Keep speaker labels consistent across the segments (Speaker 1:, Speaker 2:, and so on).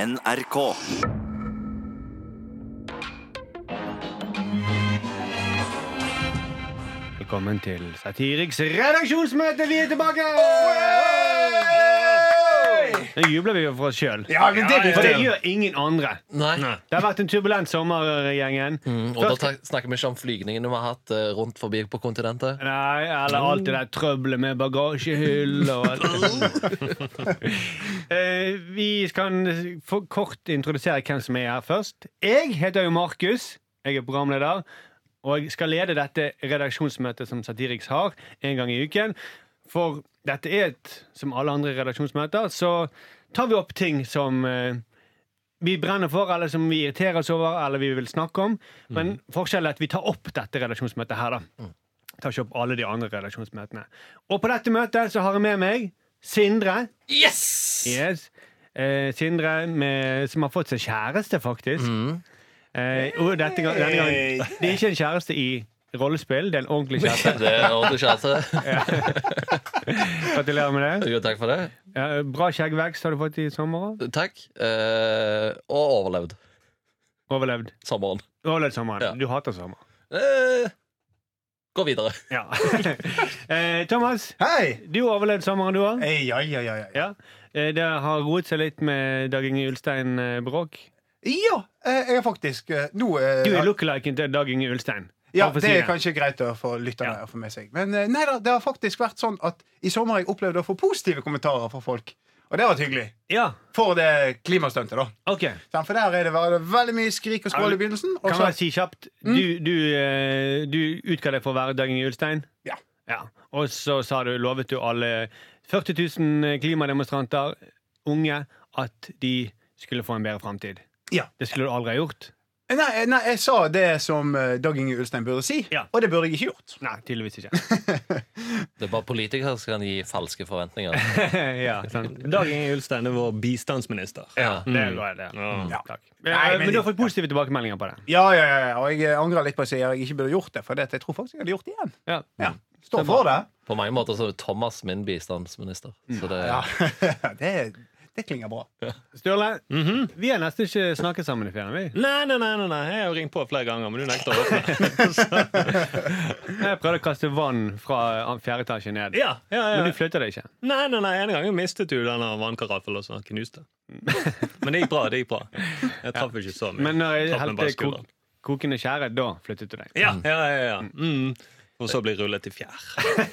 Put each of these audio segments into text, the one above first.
Speaker 1: NRK.
Speaker 2: Velkommen til Satiriks redaksjonsmøte. Vi er tilbake! Nå jubler vi jo for oss sjøl.
Speaker 3: Ja, men det er
Speaker 2: For det
Speaker 3: viktig.
Speaker 2: gjør ingen andre.
Speaker 4: Nei.
Speaker 2: Det har vært en turbulent sommer, gjengen.
Speaker 3: Mm.
Speaker 4: Og da ta- snakker vi ikke om flygningene vi har hatt eh, rundt forbi på kontinentet.
Speaker 2: Nei, eller alt det der trøbbelet med bagasjehyll og alt det. Eh, Vi kan få kort introdusere hvem som er her først. Jeg heter jo Markus. Jeg er programleder. Og jeg skal lede dette redaksjonsmøtet som Satiriks har en gang i uken. For dette er et, som alle andre redaksjonsmøter, så tar vi opp ting som eh, vi brenner for, eller som vi irriterer oss over, eller vi vil snakke om. Men forskjellen er at vi tar opp dette redaksjonsmøtet her, da tar ikke opp alle de andre redaksjonsmøtene. Og på dette møtet så har jeg med meg Sindre.
Speaker 4: Yes!
Speaker 2: Yes. Eh, Sindre med, som har fått seg kjæreste, faktisk. Eh, og dette, gang- denne gangen Det er ikke en kjæreste i rollespill, det er en ordentlig kjæreste.
Speaker 4: Det er ordentlig kjæreste.
Speaker 2: Gratulerer med det.
Speaker 4: Jo, takk for det.
Speaker 2: Ja, bra skjeggvekst har du fått i sommer. også.
Speaker 4: Takk. Eh, og overlevd
Speaker 2: Overlevd.
Speaker 4: sommeren.
Speaker 2: Overlevd sommeren.
Speaker 4: Ja.
Speaker 2: Du hater sommer.
Speaker 4: Eh, gå videre.
Speaker 2: Ja. eh, Thomas,
Speaker 3: Hei!
Speaker 2: du har overlevd sommeren, du òg.
Speaker 3: Ei, ei, ei, ei. ei.
Speaker 2: Ja. Eh, det har roet seg litt med Dag Inge eh, Ulstein-bråk.
Speaker 3: Ja, eh, jeg er faktisk eh, Nå eh,
Speaker 2: Du er lookaliken til Dag Inge Ulstein.
Speaker 3: ja,
Speaker 2: Bare for å
Speaker 3: Det
Speaker 2: si
Speaker 3: er kanskje greit å få lytterne
Speaker 2: Ja.
Speaker 3: å få med seg. Men eh, nei da, det har faktisk vært sånn at i sommer har jeg opplevd å få positive kommentarer fra folk. Og det har vært hyggelig.
Speaker 2: Ja,
Speaker 3: For det klimastuntet, da.
Speaker 2: ok
Speaker 3: Sant, For der er det, var det veldig mye skrik og skrål i begynnelsen. Og
Speaker 2: Kan
Speaker 3: så, Mm.
Speaker 2: man si kjapt Du, du, eh, du utga deg for å være Dag Inge Ulstein
Speaker 3: Ja.
Speaker 2: Og så sa du, lovet du alle 40 000 klimademonstranter Unge At de skulle få en bedre fremtid
Speaker 3: ja.
Speaker 2: Det skulle du aldri ha gjort
Speaker 3: nei, eh, nei, jeg sa det som eh, Dag Inge Ulstein burde si,
Speaker 2: Ja.
Speaker 3: og det burde jeg ikke gjort.
Speaker 2: Nei, tydeligvis ikke
Speaker 4: Det er bare politikere som kan gi falske forventninger.
Speaker 2: ja, sant. Mm.
Speaker 5: Dag Inge Ulstein er vår bistandsminister.
Speaker 4: Ja.
Speaker 2: Det er bra det
Speaker 3: Ja.
Speaker 2: Takk. Eh,
Speaker 3: Nei, men
Speaker 2: Men du har
Speaker 3: det-
Speaker 2: fått positive tilbakemeldinger på det
Speaker 3: Ja, ja, ja, ja, Og jeg eh, angrer litt på å si at jeg ikke burde gjort det, for det, at jeg tror faktisk jeg hadde gjort det igjen.
Speaker 2: Ja,
Speaker 3: Ja. Står for det.
Speaker 4: På mange måter så er det Thomas min bistandsminister. Så det,
Speaker 3: Ja, det, det klinger bra.
Speaker 2: Sturle, vi har nesten ikke snakket sammen i ferien vi.
Speaker 5: Nei, nei, nei, nei, nei, jeg har jo ringt på flere ganger, men du nekter å åpne.
Speaker 2: Jeg prøvde å kaste vann fra eh, fjerde etasje ned
Speaker 5: Ja, ja,
Speaker 2: Men
Speaker 5: ja.
Speaker 2: du flytter deg ikke
Speaker 5: Nei, nei, nei, En gang jeg mistet jo denne vannkaraffelen, og så knuste den. Men det gikk bra. det gikk bra Jeg traff ikke så mye.
Speaker 2: Men når jeg
Speaker 5: Traff meg bare i
Speaker 2: helte kok
Speaker 5: skulderen.
Speaker 2: kokende skjære, da flyttet du deg.
Speaker 5: eh, Ja, ja, ja, ja. Mm. Og så blir rullet i fjær.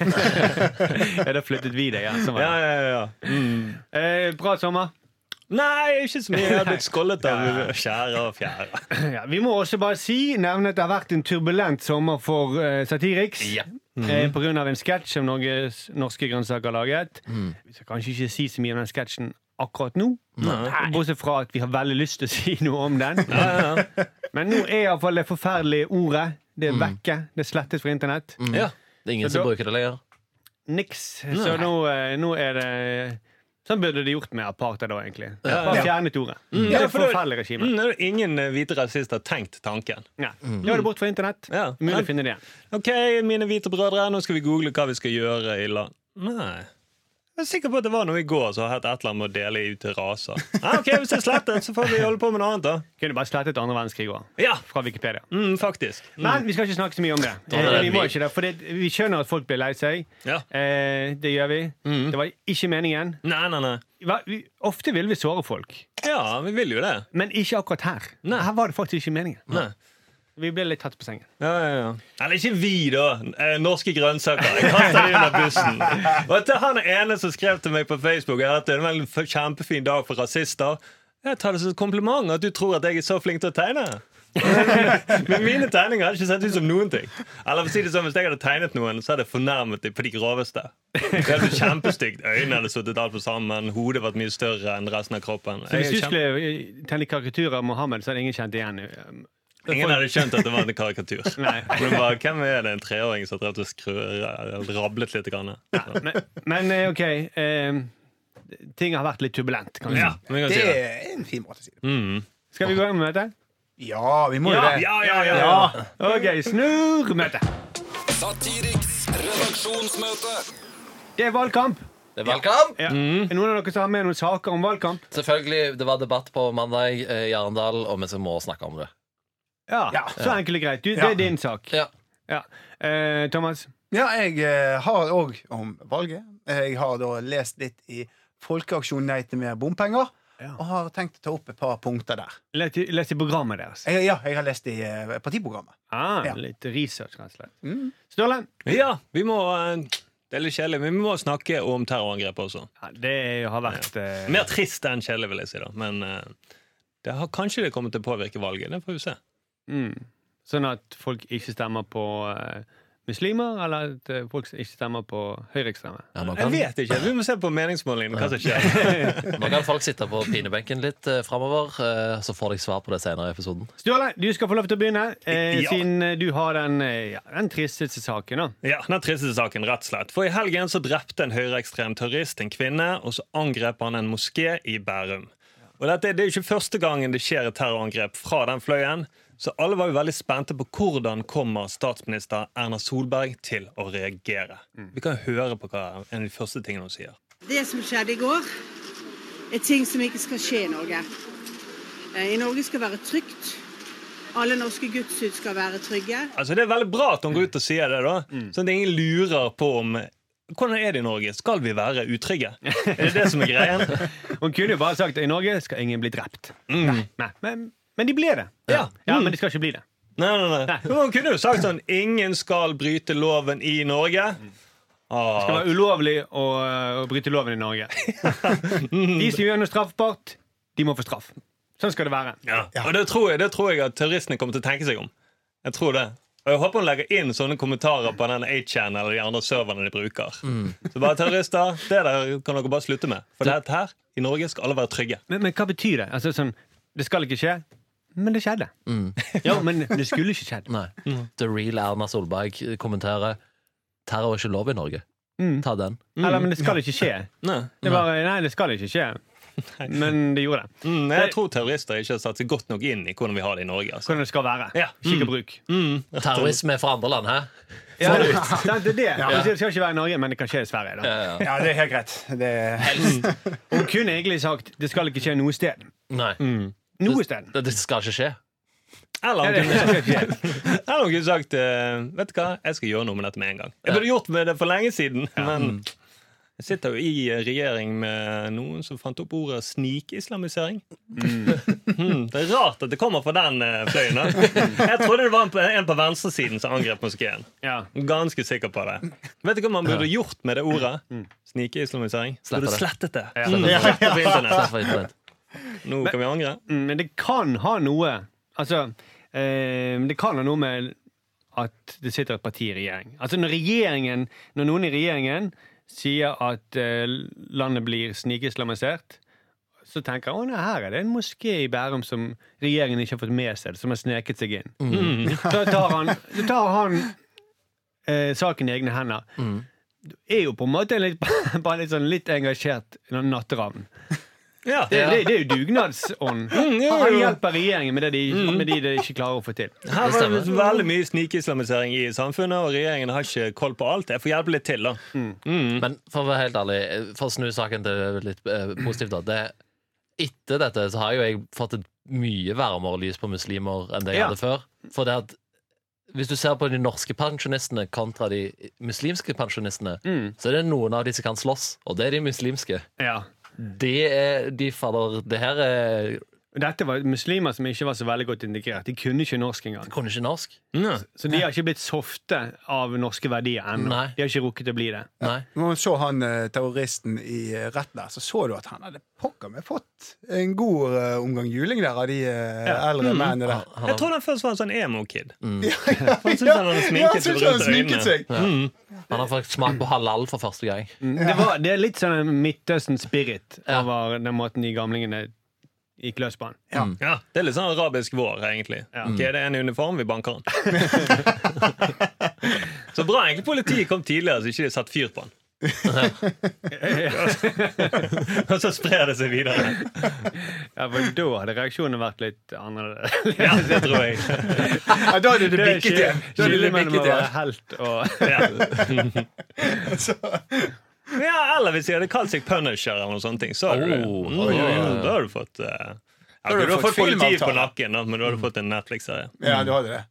Speaker 2: Ja, da flyttet vi deg. Ja, sånn var
Speaker 5: Ja,
Speaker 2: det.
Speaker 5: ja, ja, ja. Mm.
Speaker 2: Eh, bra sommer.
Speaker 5: Nei, ikke så mye. Jeg har blitt skålet av skjære og fjær.
Speaker 2: Ja, vi må også bare si nevne at det har vært en turbulent sommer for eh, Satiriks.
Speaker 4: Ja.
Speaker 2: Eh, på grunn av en sketsj som Norges Norske Grønnsaker har laget. Vi skal kanskje ikke si så mye om den sketsjen akkurat nå. Bortsett fra at vi har veldig lyst til å si noe om den. Men nå er iallfall det forferdelige ordet. Det er vekke. Det er slettet fra internett.
Speaker 4: ja. Det er ingen
Speaker 2: Så
Speaker 4: som
Speaker 2: da-
Speaker 4: bruker det lenger.
Speaker 2: Niks. Så nå, eh, nå er det Sånn burde de gjort med apartheid òg, egentlig. Bare fjernet ordet. Det er
Speaker 5: Mm. Ja,
Speaker 2: et
Speaker 5: for det-
Speaker 2: forferdelig regime.
Speaker 5: Mm, det er jo ingen eh, hvite rasister tenkt tanken.
Speaker 2: Ja. Nå er det bort fra internett.
Speaker 5: Ja.
Speaker 2: Mulig å finne det igjen.
Speaker 5: Ok, mine hvite brødre, nå skal vi google hva vi skal gjøre i land. Nei. Jeg er sikker på at det var noe i går som har hatt et eller annet med å dele ut til raser. Ah, ok, Hvis det er slettet, så får vi holde på med noe annet, da.
Speaker 2: Kunne bare slettet andre verdenskrig òg.
Speaker 5: Ja,
Speaker 2: Fra Wikipedia.
Speaker 5: mm, faktisk. Mm.
Speaker 2: Men vi skal ikke snakke så mye om det.
Speaker 4: Da er det
Speaker 2: Eh, Vi, må
Speaker 4: vi.
Speaker 2: ikke det for det, vi skjønner at folk blir lei seg.
Speaker 5: Ja.
Speaker 2: Eh, det gjør vi.
Speaker 5: Mm.
Speaker 2: Det var ikke meningen.
Speaker 5: Nei, nei, nei.
Speaker 2: Hva- vi- Ofte vil vi såre folk,
Speaker 5: Ja, vi vil jo det.
Speaker 2: men ikke akkurat her.
Speaker 5: Nei.
Speaker 2: Her var det faktisk ikke meningen.
Speaker 5: Nei.
Speaker 2: Vi ble litt tatt på sengen.
Speaker 5: Ja, ja, ja. Eller ikke vi, da. Eh, Norske grønnsaker. Jeg kaster de under bussen. Og til han ene som skrev til meg på Facebook Jeg har hatt en veldig f- kjempefin dag for rasister. Jeg tar det som et kompliment at du tror at jeg er så flink til å tegne. Men mine tegninger hadde ikke sett ut som noen ting. Eller for å si det sånn, Hvis jeg hadde tegnet noen, så hadde jeg fornærmet dem på de groveste. Det hadde blitt kjempestygt. Øynene hadde suttet altfor sammen, hodet vært mye større enn resten av kroppen.
Speaker 2: Så hvis
Speaker 5: Jeg
Speaker 2: du
Speaker 5: er kjempe-
Speaker 2: skulle eh, tegne karikaturer av Mohammed, så hadde ingen kjent igjen. eh,
Speaker 5: Ingen hadde skjønt at det var en karikatur.
Speaker 2: Nei.
Speaker 5: Men bare, Hvem er det en treåring som har drevet og skrø- rablet litt? Grann? Sånn.
Speaker 2: Men, men eh, OK. Eh, ting har vært litt turbulent, kan vi si.
Speaker 5: Ja, vi kan
Speaker 3: Det
Speaker 5: si det.
Speaker 3: er en fin måte å si det på.
Speaker 2: Skal vi gå i gang med møtet?
Speaker 3: Ja, vi må jo det.
Speaker 5: Ja, ja, ja, ja.
Speaker 3: Ja.
Speaker 2: OK, snurr møtet.
Speaker 6: Satiriks redaksjonsmøte.
Speaker 2: Det er valgkamp.
Speaker 4: Det er valgkamp!
Speaker 2: Ja. Er noen av dere som har med noen saker om valgkamp?
Speaker 4: Selvfølgelig, det var debatt på mandag eh, i Arendal, og vi må snakke om det.
Speaker 2: Ja,
Speaker 3: Ja.
Speaker 2: Så enkelt og greit. Du, Det
Speaker 3: Ja.
Speaker 2: er din sak.
Speaker 4: Ja.
Speaker 2: Ja. Eh, Thomas?
Speaker 3: Ja, jeg eh, har òg om valget. Jeg har da lest litt i Folkeaksjon nei til mer bompenger.
Speaker 2: Ja.
Speaker 3: Og har tenkt å ta opp et par punkter der.
Speaker 2: Les i- les i programmet deres.
Speaker 3: Jeg, ja, jeg har lest i eh, partiprogrammet.
Speaker 2: Ah,
Speaker 3: Ja.
Speaker 2: Litt research, rett og slett.
Speaker 3: Mm.
Speaker 2: Sturle?
Speaker 5: Ja, vi må eh, Det er litt kjedelig, men vi må snakke om terrorangrep også.
Speaker 2: Ja, det har vært eh,
Speaker 5: Mer trist enn kjedelig, vil jeg si. da Men eh, det har, kanskje det kommer til å påvirke valget. Det får vi se.
Speaker 2: mm, Sånn at folk ikke stemmer på eh, muslimer, eller at eh, folk ikke stemmer på høyreekstreme.
Speaker 4: Ja, nå,
Speaker 5: Jeg
Speaker 4: kan,
Speaker 5: vet ikke, Vi må se på meningsmålingene hva som skjer.
Speaker 4: nå kan folk sitte på pinebenken litt eh, framover, eh, så får de svar på det senere i episoden.
Speaker 2: Sturle, du skal få lov til å begynne, eh,
Speaker 5: Ja.
Speaker 2: siden eh, du har den, eh, ja, den tristeste saken. da
Speaker 5: Ja, Den triste saken, rett og slett. For i helgen så drepte en høyreekstrem terrorist en kvinne, og så angrep han en moské i Bærum. Og dette, Det er jo ikke første gangen det skjer et terrorangrep fra den fløyen, så alle var jo veldig spente på hvordan kommer statsminister Erna Solberg til å reagere. Vi kan høre på hva en av de første tingene hun sier.
Speaker 1: Det som skjedde i går, er ting som ikke skal skje i Norge. Eh, I Norge skal være trygt. Alle norske gudshus skal være trygge.
Speaker 5: Altså Det er veldig bra at hun går ut og sier det, da sånn at ingen lurer på om hvordan er det i Norge. Skal vi være utrygge? Er det det som er greien?
Speaker 2: Hun kunne jo bare sagt at i Norge skal ingen bli drept. Nei, men, men de blir det.
Speaker 5: Mm. Ja. Mm.
Speaker 2: ja, Men de skal ikke bli det.
Speaker 5: Nei, nei, nei.
Speaker 2: Nei.
Speaker 5: Men hun kunne jo sagt sånn Ingen skal bryte loven i Norge.
Speaker 2: Det skal
Speaker 5: Ah,
Speaker 2: være ulovlig å, øh, å bryte loven i Norge.
Speaker 5: Mm.
Speaker 2: De som gjør noe straffbart, de må få straff. Sånn skal det være.
Speaker 5: ja. Og det tror, jeg, det tror jeg at terroristene kommer til å tenke seg om. Jeg tror det og jeg håper hun legger inn sånne kommentarer på den 8chan eller de andre serverne de bruker. Så bare terrorister, det der kan dere bare slutte med. For dette her, i Norge skal alle være trygge.
Speaker 2: Men, men hva betyr det? Altså, sånn, det skal ikke skje, men det skjedde.
Speaker 5: Mm.
Speaker 2: Ja, men det skulle ikke skjedd.
Speaker 4: Nei. The real Erna Solberg kommenterer Terror er ikke lov i Norge. Ta den.
Speaker 2: Eller, men det skal ikke skje.
Speaker 5: Mm. Nei.
Speaker 2: Det var, nei, det skal ikke skje. Men det gjorde det.
Speaker 5: Mm, jeg tror terrorister ikke har satt seg godt nok inn i hvordan vi har det i Norge. Altså.
Speaker 2: Sånn det skal være.
Speaker 5: Ja. Mm.
Speaker 2: Skikk og bruk.
Speaker 4: Terrorisme fra andre land, hæ?
Speaker 2: Ja, det, det, er det. det skal ikke være i Norge, men det kan skje i Sverige. Da.
Speaker 3: Ja, det er helt greit. Det,
Speaker 2: Hun kunne egentlig sagt det skal ikke skje noe sted.
Speaker 4: Nei.
Speaker 2: Noe sted.
Speaker 4: Det, det skal ikke skje.
Speaker 5: Eller
Speaker 2: Ja,
Speaker 5: om
Speaker 2: det
Speaker 5: kunne
Speaker 2: skal ikke skje.
Speaker 5: Eller noen kunne sagt eh, Vet du hva, jeg skal gjøre noe med dette med en gang. Jeg burde gjort med det for lenge siden, men jeg sitter jo i eh, regjering med noen som fant opp ordet snikislamisering. Mm. det er rart at det kommer fra den eh, fløyen. da. Jeg trodde det var en på, en på venstresiden som angrep moskeen.
Speaker 2: Ja.
Speaker 5: Ganske sikker på det. Vet du hva man burde gjort med det ordet? Snikislamisering.
Speaker 4: Slettet
Speaker 5: Burde
Speaker 4: det.
Speaker 5: slettet det.
Speaker 2: Ja.
Speaker 5: Mm. Slettet på
Speaker 4: Nei,
Speaker 5: internett.
Speaker 4: for internett.
Speaker 5: Nå kan vi angre.
Speaker 2: Mm, Men det kan ha noe Altså, eh, det kan ha noe med at det sitter et parti i regjering. Altså når regjeringen, når noen i regjeringen sier at eh, landet blir snikislamisert, så tenker jeg, å nei, her er det en moské i Bærum som regjeringen ikke har fått med seg, som har sneket seg inn. Så tar han, så tar han eh, saken i egne hender. Du er jo på en måte en litt, bare litt, sånn, litt engasjert natteravn.
Speaker 5: Ja.
Speaker 2: Det, det, det er jo dugnadsånd. Mm.
Speaker 5: Hmm, jo,
Speaker 2: Han
Speaker 5: jo.
Speaker 2: hjelper regjeringen med det de, med de, de ikke klarer å få til.
Speaker 5: Her
Speaker 4: Det
Speaker 5: var det
Speaker 4: stemmer.
Speaker 5: veldig mye snikislamisering i samfunnet, og regjeringen har ikke koll på alt. Jeg får hjelpe litt til, da.
Speaker 4: Men for å være helt ærlig, for å snu saken til litt eh, positivt, da. Det, etter dette så har jo jeg fått et mye varmere lys på muslimer enn det jeg
Speaker 2: Ja.
Speaker 4: hadde før. For det at hvis du ser på de norske pensjonistene kontra de muslimske pensjonistene, så er det noen av de som kan slåss, og det er de muslimske.
Speaker 2: Ja.
Speaker 4: Det er de fader Det her er
Speaker 2: Dette var muslimer som ikke var så veldig godt integrert. De kunne ikke norsk engang.
Speaker 4: Kunne ikke norsk.
Speaker 2: Så de har ikke blitt softe av norske verdier ennå.
Speaker 4: Nei.
Speaker 2: De har ikke rukket å bli det.
Speaker 4: Nei.
Speaker 3: når man så han eh, terroristen i eh, rett der, så så du at han hadde pokker meg fått en god eh, omgang juling der av de eh, eldre
Speaker 5: Mm.
Speaker 3: mennene der.
Speaker 5: Jeg tror den først var en sånn emo-kid.
Speaker 4: Mm.
Speaker 3: Ja,
Speaker 5: Han syntes han hadde
Speaker 3: ja,
Speaker 5: sminket
Speaker 3: han
Speaker 5: seg
Speaker 3: syntes han
Speaker 5: rundt øynene.
Speaker 3: sminket seg.
Speaker 4: Han har fått smak på halal for første gang.
Speaker 2: Det, var, det er litt sånn en Midtøsten-spirit
Speaker 4: Ja.
Speaker 2: over den måten de gamlingene gikk løs på han.
Speaker 5: Ja, det er litt sånn arabisk vår, egentlig.
Speaker 2: Ja.
Speaker 5: Ok, det er en uniform, vi banker den. så bra egentlig politiet kom tidligere, så ikke de satte fyr på den. Og så sprer det seg videre.
Speaker 2: Ja, for da hadde reaksjonene vært litt annerledes.
Speaker 5: Ja, det tror jeg.
Speaker 3: Ja, da hadde det
Speaker 2: Det er
Speaker 3: bikket
Speaker 2: ikke-
Speaker 3: igjen. Da hadde
Speaker 2: Skille
Speaker 3: det
Speaker 2: mellom å
Speaker 3: bikket
Speaker 2: være helt
Speaker 3: igjen.
Speaker 2: og
Speaker 5: Ja.
Speaker 3: Så-
Speaker 5: Ja, eller hvis de hadde kalt seg Punisher eller noen sånne ting, så hadde
Speaker 4: Oh,
Speaker 5: du,
Speaker 4: oi,
Speaker 5: mm,
Speaker 4: oi, oi.
Speaker 5: da hadde du fått eh, ja,
Speaker 3: hadde du
Speaker 5: Du hadde fått
Speaker 3: fått
Speaker 5: politiet på
Speaker 3: filmavtale.
Speaker 5: nakken, da, men du hadde fått en Netflix-serie.
Speaker 3: Ja, du hadde det.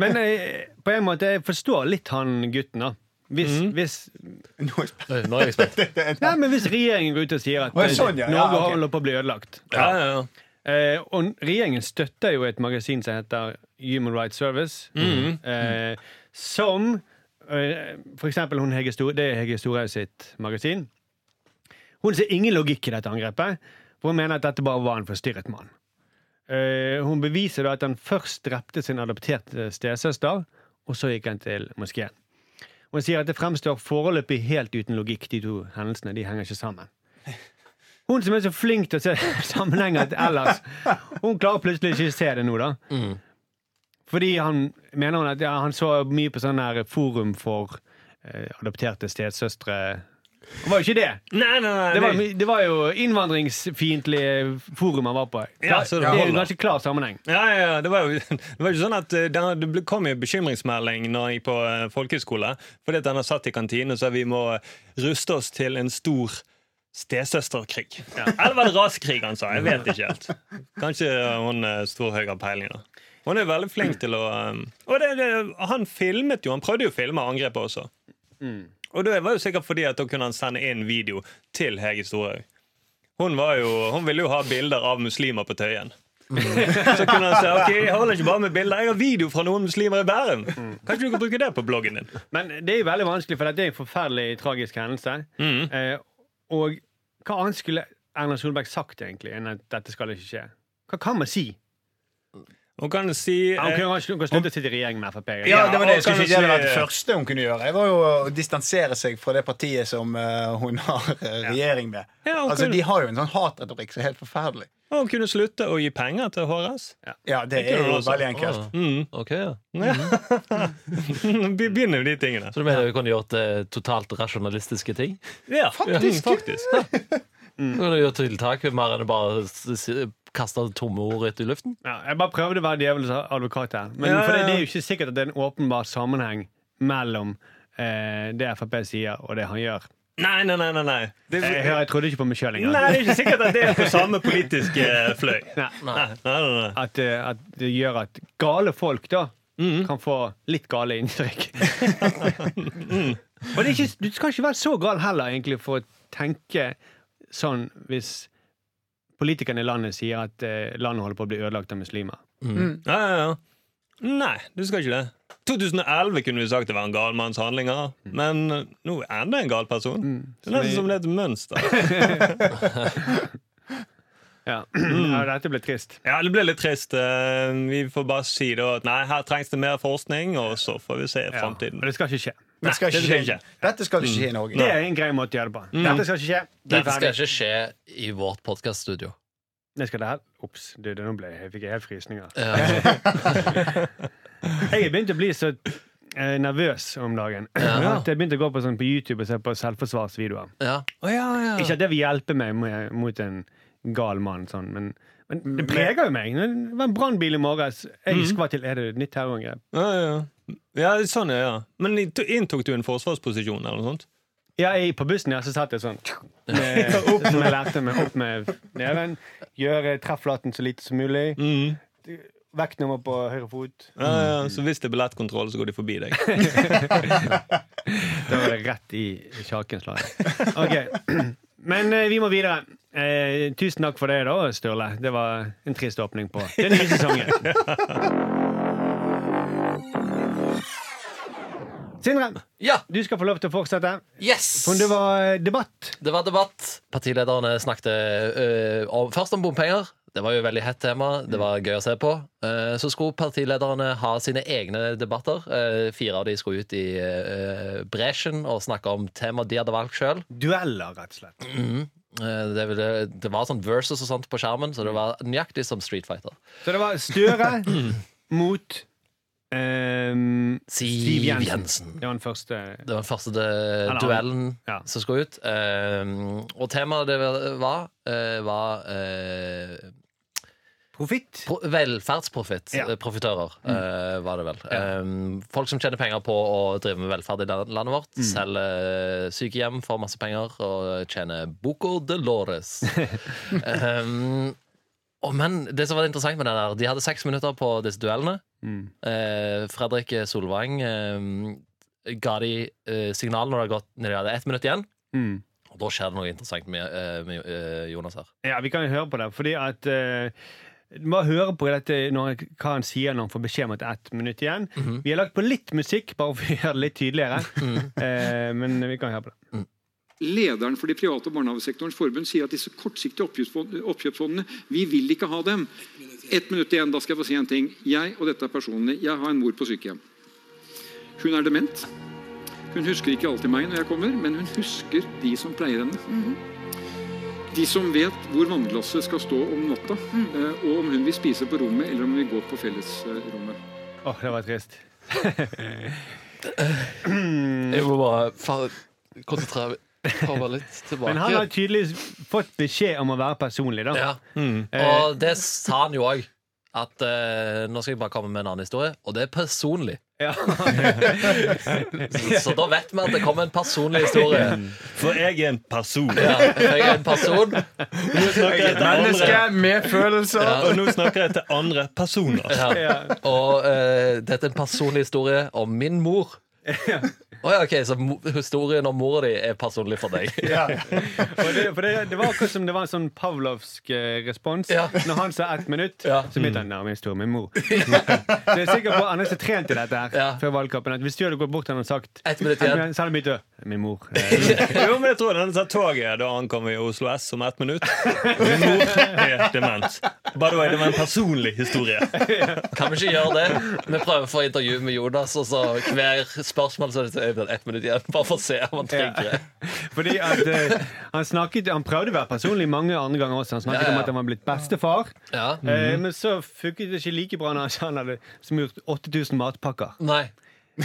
Speaker 2: Men eh, på en måte, jeg forstår litt han gutten, da. Hvis, hvis,
Speaker 3: Nå er jeg spent.
Speaker 4: Oi, Nå er jeg spent.
Speaker 2: nei, men hvis regjeringen går ut og sier at
Speaker 3: Å, ja,
Speaker 2: eh,
Speaker 3: sånn, ja.
Speaker 2: Norge
Speaker 3: Ja, ok.
Speaker 2: holder på å bli ødelagt
Speaker 5: Ja, ja, ja.
Speaker 2: Eh, og regjeringen støtter jo et magasin som heter Human Rights Service, eh, som eh, for eksempel hun Hege Stor, det er Hege Storhaug sitt magasin. Hun ser ingen logikk i dette angrepet, for hun mener at dette bare var en forstyrret mann. Eh, hun beviser da at han først drepte sin adopterte stesøster, og så gikk han til moskeen. Hun sier at det fremstår foreløpig helt uten logikk, de to hendelsene. De henger ikke sammen. Hun som er så flink til å se sammenhenger til ellers, hun klarer plutselig ikke å se det nå, da.
Speaker 5: Mm.
Speaker 2: Fordi han mener hun at ja, han så mye på sånn her forum for eh, adopterte stesøstre. Det var jo ikke det!
Speaker 5: Nei, nei, nei.
Speaker 2: Det var,
Speaker 5: nei.
Speaker 2: det var jo innvandringsfiendtlige forum han var på.
Speaker 5: Ja, så det
Speaker 2: det er
Speaker 5: holder.
Speaker 2: jo ganske klar sammenheng.
Speaker 5: Ja, ja, ja, det var jo det var jo ikke sånn at eh, det- Det ble- kom jo bekymringsmelding når jeg gikk på eh, folkehøyskole. Fordi at han har satt i kantinen og sa vi må eh, ruste oss til en stor stesøsterkrig. Ja. Eller var det rasekrig han sa? Jeg vet ikke helt. Kanskje eh, hun eh, Storhaug har peiling. da. Hun er veldig flink til å eh, Og det, det, han filmet jo. Han prøvde jo å filme angrepet også. Og det var jo sikkert fordi at da kunne han sende inn video til Hege Storhaug. Hun, var jo, hun ville jo ha bilder av muslimer på Tøyen. Så kunne han si ok, jeg holder ikke bare med bilder, jeg har video fra noen muslimer i Bærum. Kanskje du kan bruke det på bloggen din?
Speaker 2: Men det er jo veldig vanskelig, for det er en forferdelig tragisk hendelse.
Speaker 5: Mm.
Speaker 2: Eh, og hva annet skulle Erna Solberg sagt egentlig enn at dette skal ikke skje? Hva kan man si?
Speaker 5: Hun kan si eh,
Speaker 2: Han kunne kanskje kunne slutte å sitte i regjering med Frp.
Speaker 3: Ja, det var det jeg
Speaker 5: og kan
Speaker 3: skulle
Speaker 5: du
Speaker 3: si. Det hadde
Speaker 5: si-
Speaker 3: vært det første hun kunne gjøre. Jeg var jo å distansere seg fra det partiet som eh, hun har eh, regjering med.
Speaker 5: Ja, hun
Speaker 3: Altså,
Speaker 5: kunne-
Speaker 3: De har jo en sånn hatretorikk som er helt forferdelig.
Speaker 5: og hun kunne slutte å gi penger til HRS.
Speaker 3: Ja, det
Speaker 5: kunne
Speaker 3: er
Speaker 5: hun
Speaker 3: jo
Speaker 5: også.
Speaker 3: veldig enkelt.
Speaker 4: Mm. Ok, ja.
Speaker 5: Vi begynner med de tingene.
Speaker 4: Så du mener vi kunne gjort eh, totalt rasjonalistiske ting?
Speaker 5: Ja,
Speaker 3: Faktisk.
Speaker 5: Mm, faktisk.
Speaker 4: Du kunne gjort tiltak mer enn å bare s- s- kaste tomme ord ut i luften?
Speaker 2: Ja, jeg bare prøvde å være djevelens advokat her. Men
Speaker 5: Ja, ja,
Speaker 2: For det,
Speaker 5: ja.
Speaker 2: det er jo ikke sikkert at det er en åpenbar sammenheng mellom eh, det Frp sier, og det han gjør.
Speaker 5: Nei, nei, nei. nei, nei. Det,
Speaker 2: Jeg, jeg, jeg trodde ikke på meg sjøl
Speaker 5: nei,
Speaker 2: engang.
Speaker 5: det er ikke sikkert at det er på samme politiske eh, fløy.
Speaker 2: Nei.
Speaker 5: Nei, nei, nei, nei.
Speaker 2: At, eh, at det gjør at gale folk da
Speaker 5: Mhm.
Speaker 2: kan få litt gale inntrykk. Og det er ikke, du skal ikke være så gal heller, egentlig, for å tenke sånn hvis politikerne i landet sier at eh, landet holder på å bli ødelagt av muslimer.
Speaker 5: Ja, ja, ja. Nei, du skal ikke det. 2011 kunne vi sagt det var en gal manns handlinger, men eh, nå er enda en gal person. Det er nesten Mm. som det er et mønster.
Speaker 2: Ja,
Speaker 5: Mm.
Speaker 2: ja dette ble trist.
Speaker 5: Ja, det ble litt trist. Eh, Vi får bare si da at nei, her trengs det mer forskning, og så får vi se i
Speaker 2: Ja.
Speaker 5: fremtiden.
Speaker 2: Og det skal ikke skje.
Speaker 3: Det skal
Speaker 5: det
Speaker 3: ikke skje.
Speaker 5: skal ikke.
Speaker 3: Dette skal ikke skje i Norge.
Speaker 2: Det er en grei måte å gjøre det på. Dette skal ikke skje. Vi er
Speaker 4: Mm. Dette skal
Speaker 2: ferdig.
Speaker 4: ikke skje i vårt podkaststudio.
Speaker 2: Nå skal det her. Ops, du, det nå ble jeg, jeg fikk helt frysninger.
Speaker 4: Uh,
Speaker 2: Jeg er begynt å bli så eh, nervøs om dagen at jeg begynte å gå på, sånn, på YouTube og se på selvforsvarsvideoer.
Speaker 4: ja.
Speaker 2: Ikke at det vil hjelpe meg med, mot en gal mann, sånn, men, men
Speaker 4: Mm,
Speaker 2: det preger jo meg. Det var en brannbil i morges. Jeg skvatt til. Er det et nytt terrorangrep?
Speaker 5: Ja, ja. ja, sånn er det. Ja. Men i- to- inntok du en forsvarsposisjon eller noe sånt?
Speaker 2: Ja, jeg, på bussen ja, så satt jeg sånn med, Som jeg lærte meg opp med neven. Gjøre treffflaten så lite som mulig. Vektnummer på høyre fot.
Speaker 5: Ja, ja. Så hvis det er billettkontroll, så går de forbi deg.
Speaker 2: Da var det rett i kjakenslaget. Ok, Men eh, vi må videre. Eh, tusen takk for det, da, Sturle. Det var en trist åpning på den nye sesongen. Sindre,
Speaker 4: ja!
Speaker 2: du skal få lov til å fortsette.
Speaker 4: Yes!
Speaker 2: For det var eh, debatt.
Speaker 4: Det var debatt. Partilederne snakket eh, om, først om bompenger. Det var jo et veldig hett tema. Det var gøy å se på. Eh, så skulle partilederne ha sine egne debatter. Eh, fire av de skulle ut i eh, bresjen og snakke om temaer de hadde valgt sjøl.
Speaker 2: Dueller, rett og slett.
Speaker 4: det, ville- det var sånn versus og sånt på skjermen, så det var nøyaktig som Street Fighter.
Speaker 2: Så det var Støre mot eh, Siv Jensen. Det var den første.
Speaker 4: Det var den første eh,
Speaker 2: Eller-
Speaker 4: duellen
Speaker 2: Ja.
Speaker 4: som skulle ut. Ehm, Eh, og temaet det var, eh, var eh,
Speaker 2: Profitt.
Speaker 4: Pro velferdsprofitt.
Speaker 2: Ja. Mm.
Speaker 4: eh, Profitører, eh, var det vel. Eh, folk som tjener penger på å drive med velferd i la- landet vårt.
Speaker 2: Mm.
Speaker 4: Selger sykehjem for masse penger og tjener Boco Dolores. um, og men det som var interessant med den der, De hadde seks minutter på disse duellene.
Speaker 2: Mm.
Speaker 4: Eh, Fredrik Solvang eh, ga de eh, signal når det hadde gått når de hadde ett minutt igjen.
Speaker 2: Mm.
Speaker 4: Og da skjer det noe interessant med, eh, med eh, Jonas her.
Speaker 2: Ja, vi kan jo høre på det. Fordi at eh, Du må høre på dette når, hva han sier når han får beskjed om at det er ett minutt igjen. Vi har lagt på litt musikk, bare for å gjøre det litt tydeligere. Eh, men vi kan høre på det.
Speaker 6: Lederen for de private barnehagesektorens forbund sier at disse kortsiktige oppkjøpsfond- oppkjøpsfondene, vi vil ikke ha dem. Ett minutt igjen, da skal jeg få si en ting. Jeg, og dette er personlig, jeg har en mor på sykehjem. Hun er dement. Hun husker ikke alltid meg når jeg kommer, men hun husker de som pleier henne. De som vet hvor vannglasset skal stå om natta, eh, og om hun vil spise på rommet, eller om vi går på fellesrommet.
Speaker 2: Åh, det var trist. Mm.
Speaker 4: Jeg må bare konsentrere meg litt tilbake.
Speaker 2: Men han har tydeligvis fått beskjed om å være personlig, da.
Speaker 4: ja. Mm. Og det sa han jo òg. At eh, nå skal jeg bare komme med en annen historie, og det er personlig. Så, så da vet vi at det kommer en personlig historie.
Speaker 5: For jeg er en person.
Speaker 4: Ja, jeg er en person.
Speaker 5: Nå snakker jeg til
Speaker 3: Menneske
Speaker 5: andre,
Speaker 3: med følelser.
Speaker 4: Ja.
Speaker 5: og nå snakker jeg til andre personer.
Speaker 4: Ja. Og eh, dette er en personlig historie om min mor. Å ja, ok, Så mo historien om mora di er personlig for deg?
Speaker 2: For det, for det, det var akkurat som det var en sånn pavlovsk eh, respons.
Speaker 4: Ja.
Speaker 2: Når han sa ett minutt,
Speaker 4: Ja.
Speaker 2: så begynte han nærmest med mor. Så jeg er sikker på Anders er trent i dette her
Speaker 4: Ja.
Speaker 2: før valgkampen. At hvis du hadde gått bort til han og sagt
Speaker 4: Ett minutt igjen.
Speaker 2: Så hadde han begynt å Min mor. Eh,
Speaker 5: Jo, men jeg tror den sa toget da ankom i Oslo S om ett minutt. Min mor er dement. By the way, det var en personlig historie.
Speaker 4: Kan vi ikke gjøre det? Vi prøver å få intervju med Jonas, og så hver spørsmål så er det sånn, ett minutt igjen. Bare for å se om han trygger.
Speaker 2: Fordi at eh, han snakket Han prøvde å være personlig mange andre ganger også. Han snakket
Speaker 4: Ja, ja.
Speaker 2: om at han var blitt bestefar.
Speaker 4: Ja.
Speaker 2: Eh, men så funket det ikke like bra når han sa han hadde smurt 8000 matpakker.
Speaker 4: Nei.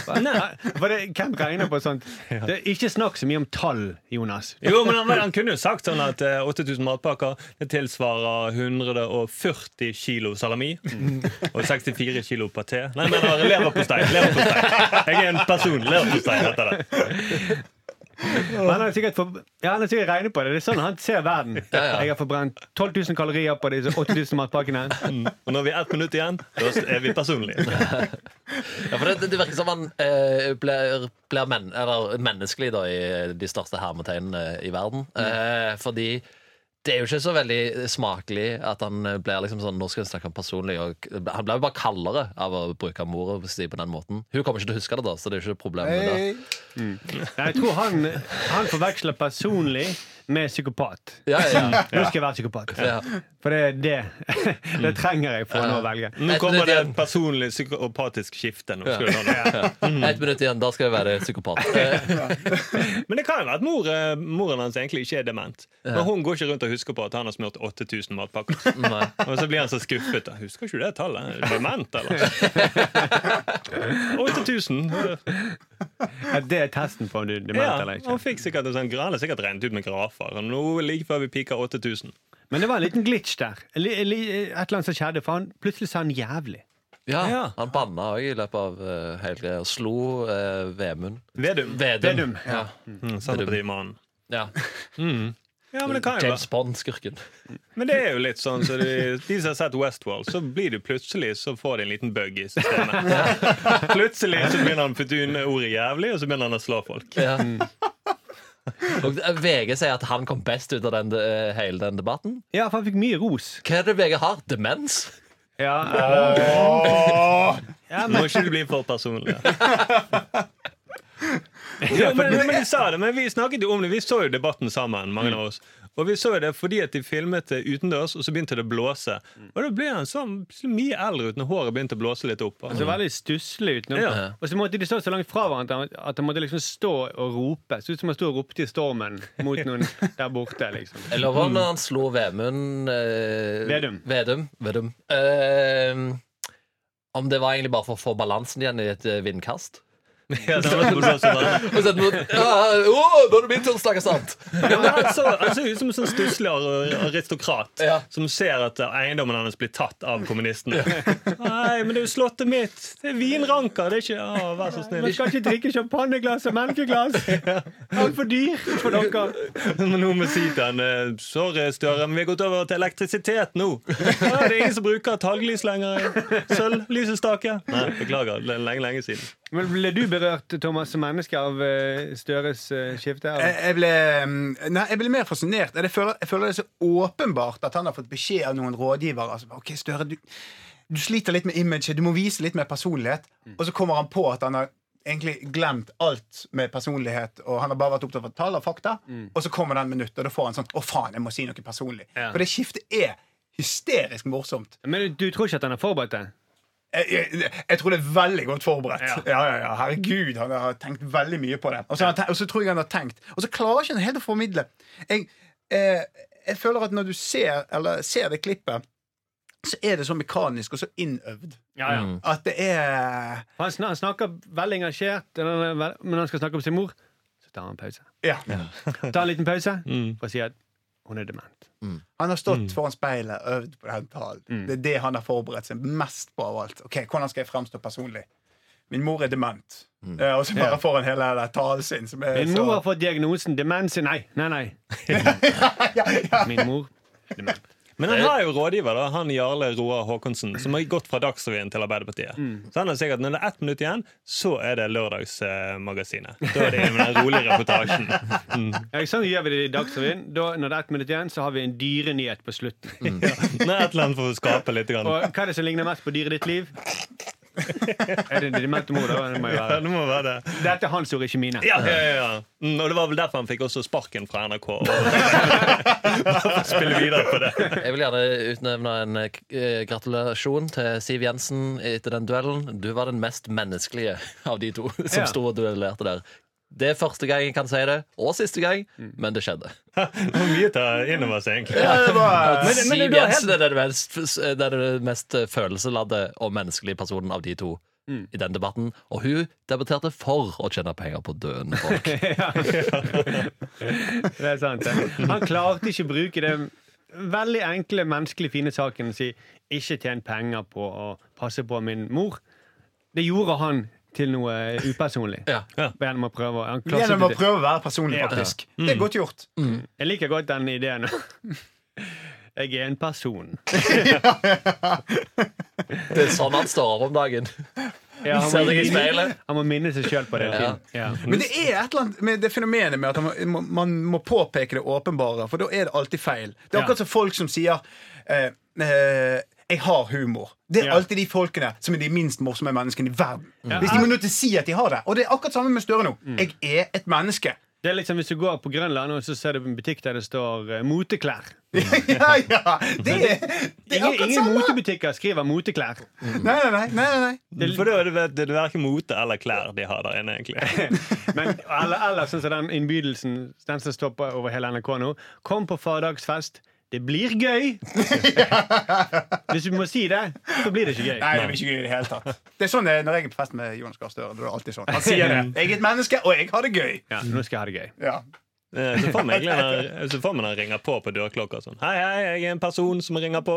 Speaker 2: For det, hvem regner på sånt? Det er ikke snakk så mye om tall, Jonas.
Speaker 5: Jo, men han, han kunne jo sagt sånn at eh, 8000 matpakker Det tilsvarer 140 kilo salami og 64 kilo paté. Nei, men det var leverpostei. leverpostei. Jeg er en person. Leverpostei heter det.
Speaker 2: Men han har sikkert, for, ja, han har sikkert regnet på det. Det er sånn han ser verden.
Speaker 4: ja.
Speaker 2: Jeg har forbrent 12 000 kalorier på disse 8000 matpakkene.
Speaker 5: Mm. Og når vi er ett minutt igjen, da er vi personlige.
Speaker 4: Ja, for det, det virker som han eh, blir, blir men, eller, menneskelig da, i de største hermetegnene i verden. Eh, fordi det er jo ikke så veldig smakelig at han eh, blir liksom sånn Nå skal jeg snakke om personlig. Og, han blir jo bare kaldere av å bruke mora si på den måten. Hun kommer ikke til å huske det, da, så det er ikke problem med det.
Speaker 3: Hei.
Speaker 2: Nei, jeg tror han, han forveksler personlig med psykopat.
Speaker 4: Ja, ja, ja.
Speaker 2: Nå skal jeg være psykopat.
Speaker 4: Ja. Mm.
Speaker 2: For det er det. Det trenger jeg for å nå å velge.
Speaker 5: Nå kommer det et personlig psykopatisk skifte. Nå, skulle han ha.
Speaker 4: Ett minutt igjen, da skal jeg være psykopat. Eh,
Speaker 5: Men det kan jo være at mor, eh, moren hans egentlig ikke er dement. Men hun går ikke rundt og husker på at han har smurt 8000 matpakker.
Speaker 4: nei.
Speaker 5: Og så blir han så skuffet. da. Husker ikke du det tallet? Er du Dement, eller? 8000.
Speaker 2: Ja, det er testen på om du er dement
Speaker 5: Ja,
Speaker 2: eller
Speaker 5: han
Speaker 2: ikke.
Speaker 5: fikk sikkert en sånn gran, han sikkert regnet ut med grafer. Og nå like før vi piker 8000.
Speaker 2: Men det var en liten glitch der. Eller- eller Et eller annet som skjedde, for han plutselig sa han jævlig.
Speaker 4: Ja,
Speaker 5: Ja.
Speaker 4: Han banna òg i løpet av eh, hele greia. Og slo eh, Vemund.
Speaker 5: Vedum.
Speaker 4: Vedum.
Speaker 2: Vedum,
Speaker 4: Ja.
Speaker 5: Mm, Senterpartimannen.
Speaker 4: Ja.
Speaker 5: Ja, men det kan jo
Speaker 4: James
Speaker 5: være.
Speaker 4: Bond-skurken.
Speaker 5: Men det er jo litt sånn så de, de som har sett Westworld, så blir du plutselig så får de en liten bug i systemet. Plutselig så begynner han å putte inn ordet jævlig, og så begynner han å slå folk.
Speaker 4: Ja. Og VG sier at han kom best ut av den, eh, hele den debatten.
Speaker 2: Ja, for han fikk mye ros.
Speaker 4: Hva er det VG har? Demens?
Speaker 2: Ja,
Speaker 5: Må ikke du bli for personlig. Ja, men, men de sa det, men vi snakket jo om det. Vi så jo debatten sammen, mange av oss. Og vi så jo det fordi at de filmet det utendørs, og så begynte det å blåse. Og da ble han sånn så mye eldre ut når håret begynte å blåse litt opp.
Speaker 2: Så veldig stusslig utenom.
Speaker 5: Mm. Ja.
Speaker 2: Og så måtte de stå så langt fra hverandre at han måtte liksom stå og rope. Så ut som han sto og ropte i stormen mot noen der borte. liksom
Speaker 4: Jeg lover når han slo Vemund eh,
Speaker 2: Vedum.
Speaker 4: Vedum. Vedum. Ehm, Eh, om det var egentlig bare for å få balansen igjen i et eh, vindkast.
Speaker 5: Ja, det var sånn som var.
Speaker 4: Og så er det noe- ja, å, nå er det min tur til å snakke sant!
Speaker 5: Ja, men han, så, han ser ut som en sånn stusslig ar- aristokrat
Speaker 4: Ja.
Speaker 5: som ser at eh, eiendommen hans blir tatt av kommunistene. Nei, men det er jo slottet mitt! Det er vinranker! Det er ikke Å, vær så snill.
Speaker 2: Man skal ikke drikke champagneglass og melkeglass. Altfor dyr for dere.
Speaker 5: Men nå må jeg si til han eh, Sorry, Støre, men vi har gått over til elektrisitet nå. Ja, det er ingen som bruker talglys lenger. Sølvlysestake. Nei, beklager. Det er lenge, lenge siden.
Speaker 2: Men Ble du berørt, Thomas, som menneske av eh, Støres eh, skifte?
Speaker 3: Jeg,
Speaker 2: eller?
Speaker 3: jeg, ble, mm, nei, jeg ble mer fascinert. Jeg føler, jeg føler det er så åpenbart at han har fått beskjed av noen rådgivere. Altså, ok, Støre, du, du sliter litt med imaget, du må vise litt mer personlighet. Og så kommer han på at han har egentlig glemt alt med personlighet, og han har bare vært opptatt av tall og fakta. Og så kommer den minuttet, og da får han sånn Å, faen, jeg må si noe personlig.
Speaker 5: Ja.
Speaker 3: For det skiftet er hysterisk morsomt.
Speaker 2: Men du tror ikke at han har forberedt det?
Speaker 3: Jeg, jeg, jeg tror det er veldig godt forberedt. Ja. Ja, ja, Herregud, han har tenkt veldig mye på det. Og så, har han tenkt, og så tror jeg han har tenkt Og så klarer ikke han helt å formidle. Jeg, eh, jeg føler at når du ser, eller ser det klippet, så er det så mekanisk og så innøvd
Speaker 2: Ja, ja.
Speaker 3: at det er
Speaker 2: For Han, snak, han snakker veldig engasjert, eller han er vel- men når han skal snakke om sin mor, så tar han en pause.
Speaker 3: Ja.
Speaker 2: Tar en liten pause for å si at hun er dement.
Speaker 3: Han har stått
Speaker 2: Mm.
Speaker 3: foran speilet og øvd på den talen. Det er det han har forberedt seg mest på av alt. Ok, Hvordan skal jeg fremstå personlig? Min mor er dement. Eh, og så bare får han hele den talen sin. Som er
Speaker 2: Min
Speaker 3: så...
Speaker 2: mor har fått diagnosen demens. Nei, nei, nei. Min mor dement.
Speaker 5: Men han har jo rådgiver, da, han Jarle Roar Håkonsen, som har gått fra Dagsrevyen til Arbeiderpartiet. Så han har sikkert når det er ett minutt igjen, så er det Lørdagsmagasinet. Da er det med den rolige reportasjen. Mm.
Speaker 2: Ja, sånn gjør vi det i Dagsrevyen. Da, når det er ett minutt igjen, så har vi en dyrenyhet på slutten.
Speaker 5: Ja. Nå er et eller annet for å skape litt. Grann.
Speaker 2: Og hva er det som ligner mest på dyret ditt liv? Er det din demente mor, da? Det må jo
Speaker 5: Ja,
Speaker 2: være.
Speaker 5: det må være det.
Speaker 2: Dette er hans ord, ikke mine.
Speaker 5: Ja, ja, ja, ja. Mm, og det var vel derfor han fikk også sparken fra NRK. Og Bare spille videre på det.
Speaker 4: Jeg vil gjerne utnevne en eh, k- eh, gratulasjon til Siv Jensen etter den duellen. Du var den mest menneskelige av de to som
Speaker 2: Ja.
Speaker 4: sto og duellerte der. Det er første gang jeg kan si det, og siste gang, men det skjedde.
Speaker 5: Det var mye å ta inn over seg, egentlig.
Speaker 3: Ja, det var...
Speaker 5: Men- men
Speaker 4: Siv
Speaker 5: du har helt-
Speaker 4: Jensen er den mest, eh, den er den mest følelsesladde og menneskelige personen av de to
Speaker 5: Mm.
Speaker 4: i den debatten. Og hun debatterte for å tjene penger på døende folk.
Speaker 2: Det er sant. det. Han klarte ikke å bruke det veldig enkle, menneskelig fine saken å si 'ikke tjen penger på å passe på min mor'. Det gjorde han til noe upersonlig.
Speaker 4: Ja.
Speaker 5: Ja.
Speaker 2: Gjennom å prøve. Han klarte
Speaker 3: Gjennom å
Speaker 2: det. Mm.
Speaker 3: prøve å være personlig, faktisk. Det er godt gjort.
Speaker 2: Jeg liker godt den ideen. Jeg er en person.
Speaker 4: Det er sånn han står over om dagen.
Speaker 2: Ja,
Speaker 4: Ser deg i
Speaker 2: minne-
Speaker 4: speilet.
Speaker 2: han må minne seg sjøl på det.
Speaker 4: Ja.
Speaker 2: Ja.
Speaker 3: Men det er et eller annet med det fenomenet med at man må, man må påpeke det åpenbare, for da er det alltid feil. Det er
Speaker 2: Ja.
Speaker 3: akkurat som folk som sier eh, eh, 'jeg har humor'. Det er
Speaker 2: Ja. Mm.
Speaker 3: alltid de folkene som er de minst morsomme menneskene i verden.
Speaker 2: Ja. Mm.
Speaker 3: Hvis de må nødt til å si at de har det. Og det er akkurat samme med Støre nå. Jeg er et menneske.
Speaker 2: Det er liksom Hvis du går på Grønland og så ser du en butikk der det står eh, 'moteklær'
Speaker 3: ja, ja! Det er, det er
Speaker 2: Ingen,
Speaker 3: akkurat
Speaker 2: ingen
Speaker 3: samme.
Speaker 2: motebutikker skriver 'moteklær'.
Speaker 3: Nei, nei, nei. nei, nei.
Speaker 5: For da er det, det er verken mote eller klær de har der inne, egentlig.
Speaker 2: Men eller, eller sånn som den innbydelsen Den som står på over hele NRK nå Kom på fardagsfest Det blir gøy Hvis du må si det, så blir det ikke gøy
Speaker 3: Nei, det blir ikke gøy i det hele tatt. Det er sånn det er når jeg er på fest med Jonas Gahr Støre. Det er alltid sånn. Han sier det. 'Jeg er et menneske, og jeg har det gøy'.
Speaker 2: ja, Nå skal jeg ha det gøy
Speaker 3: Ja.
Speaker 5: Eh, Så får man egentlig når- så får man han ringer på på dørklokka og sånn. Hei, hei, jeg er en person som ringer på.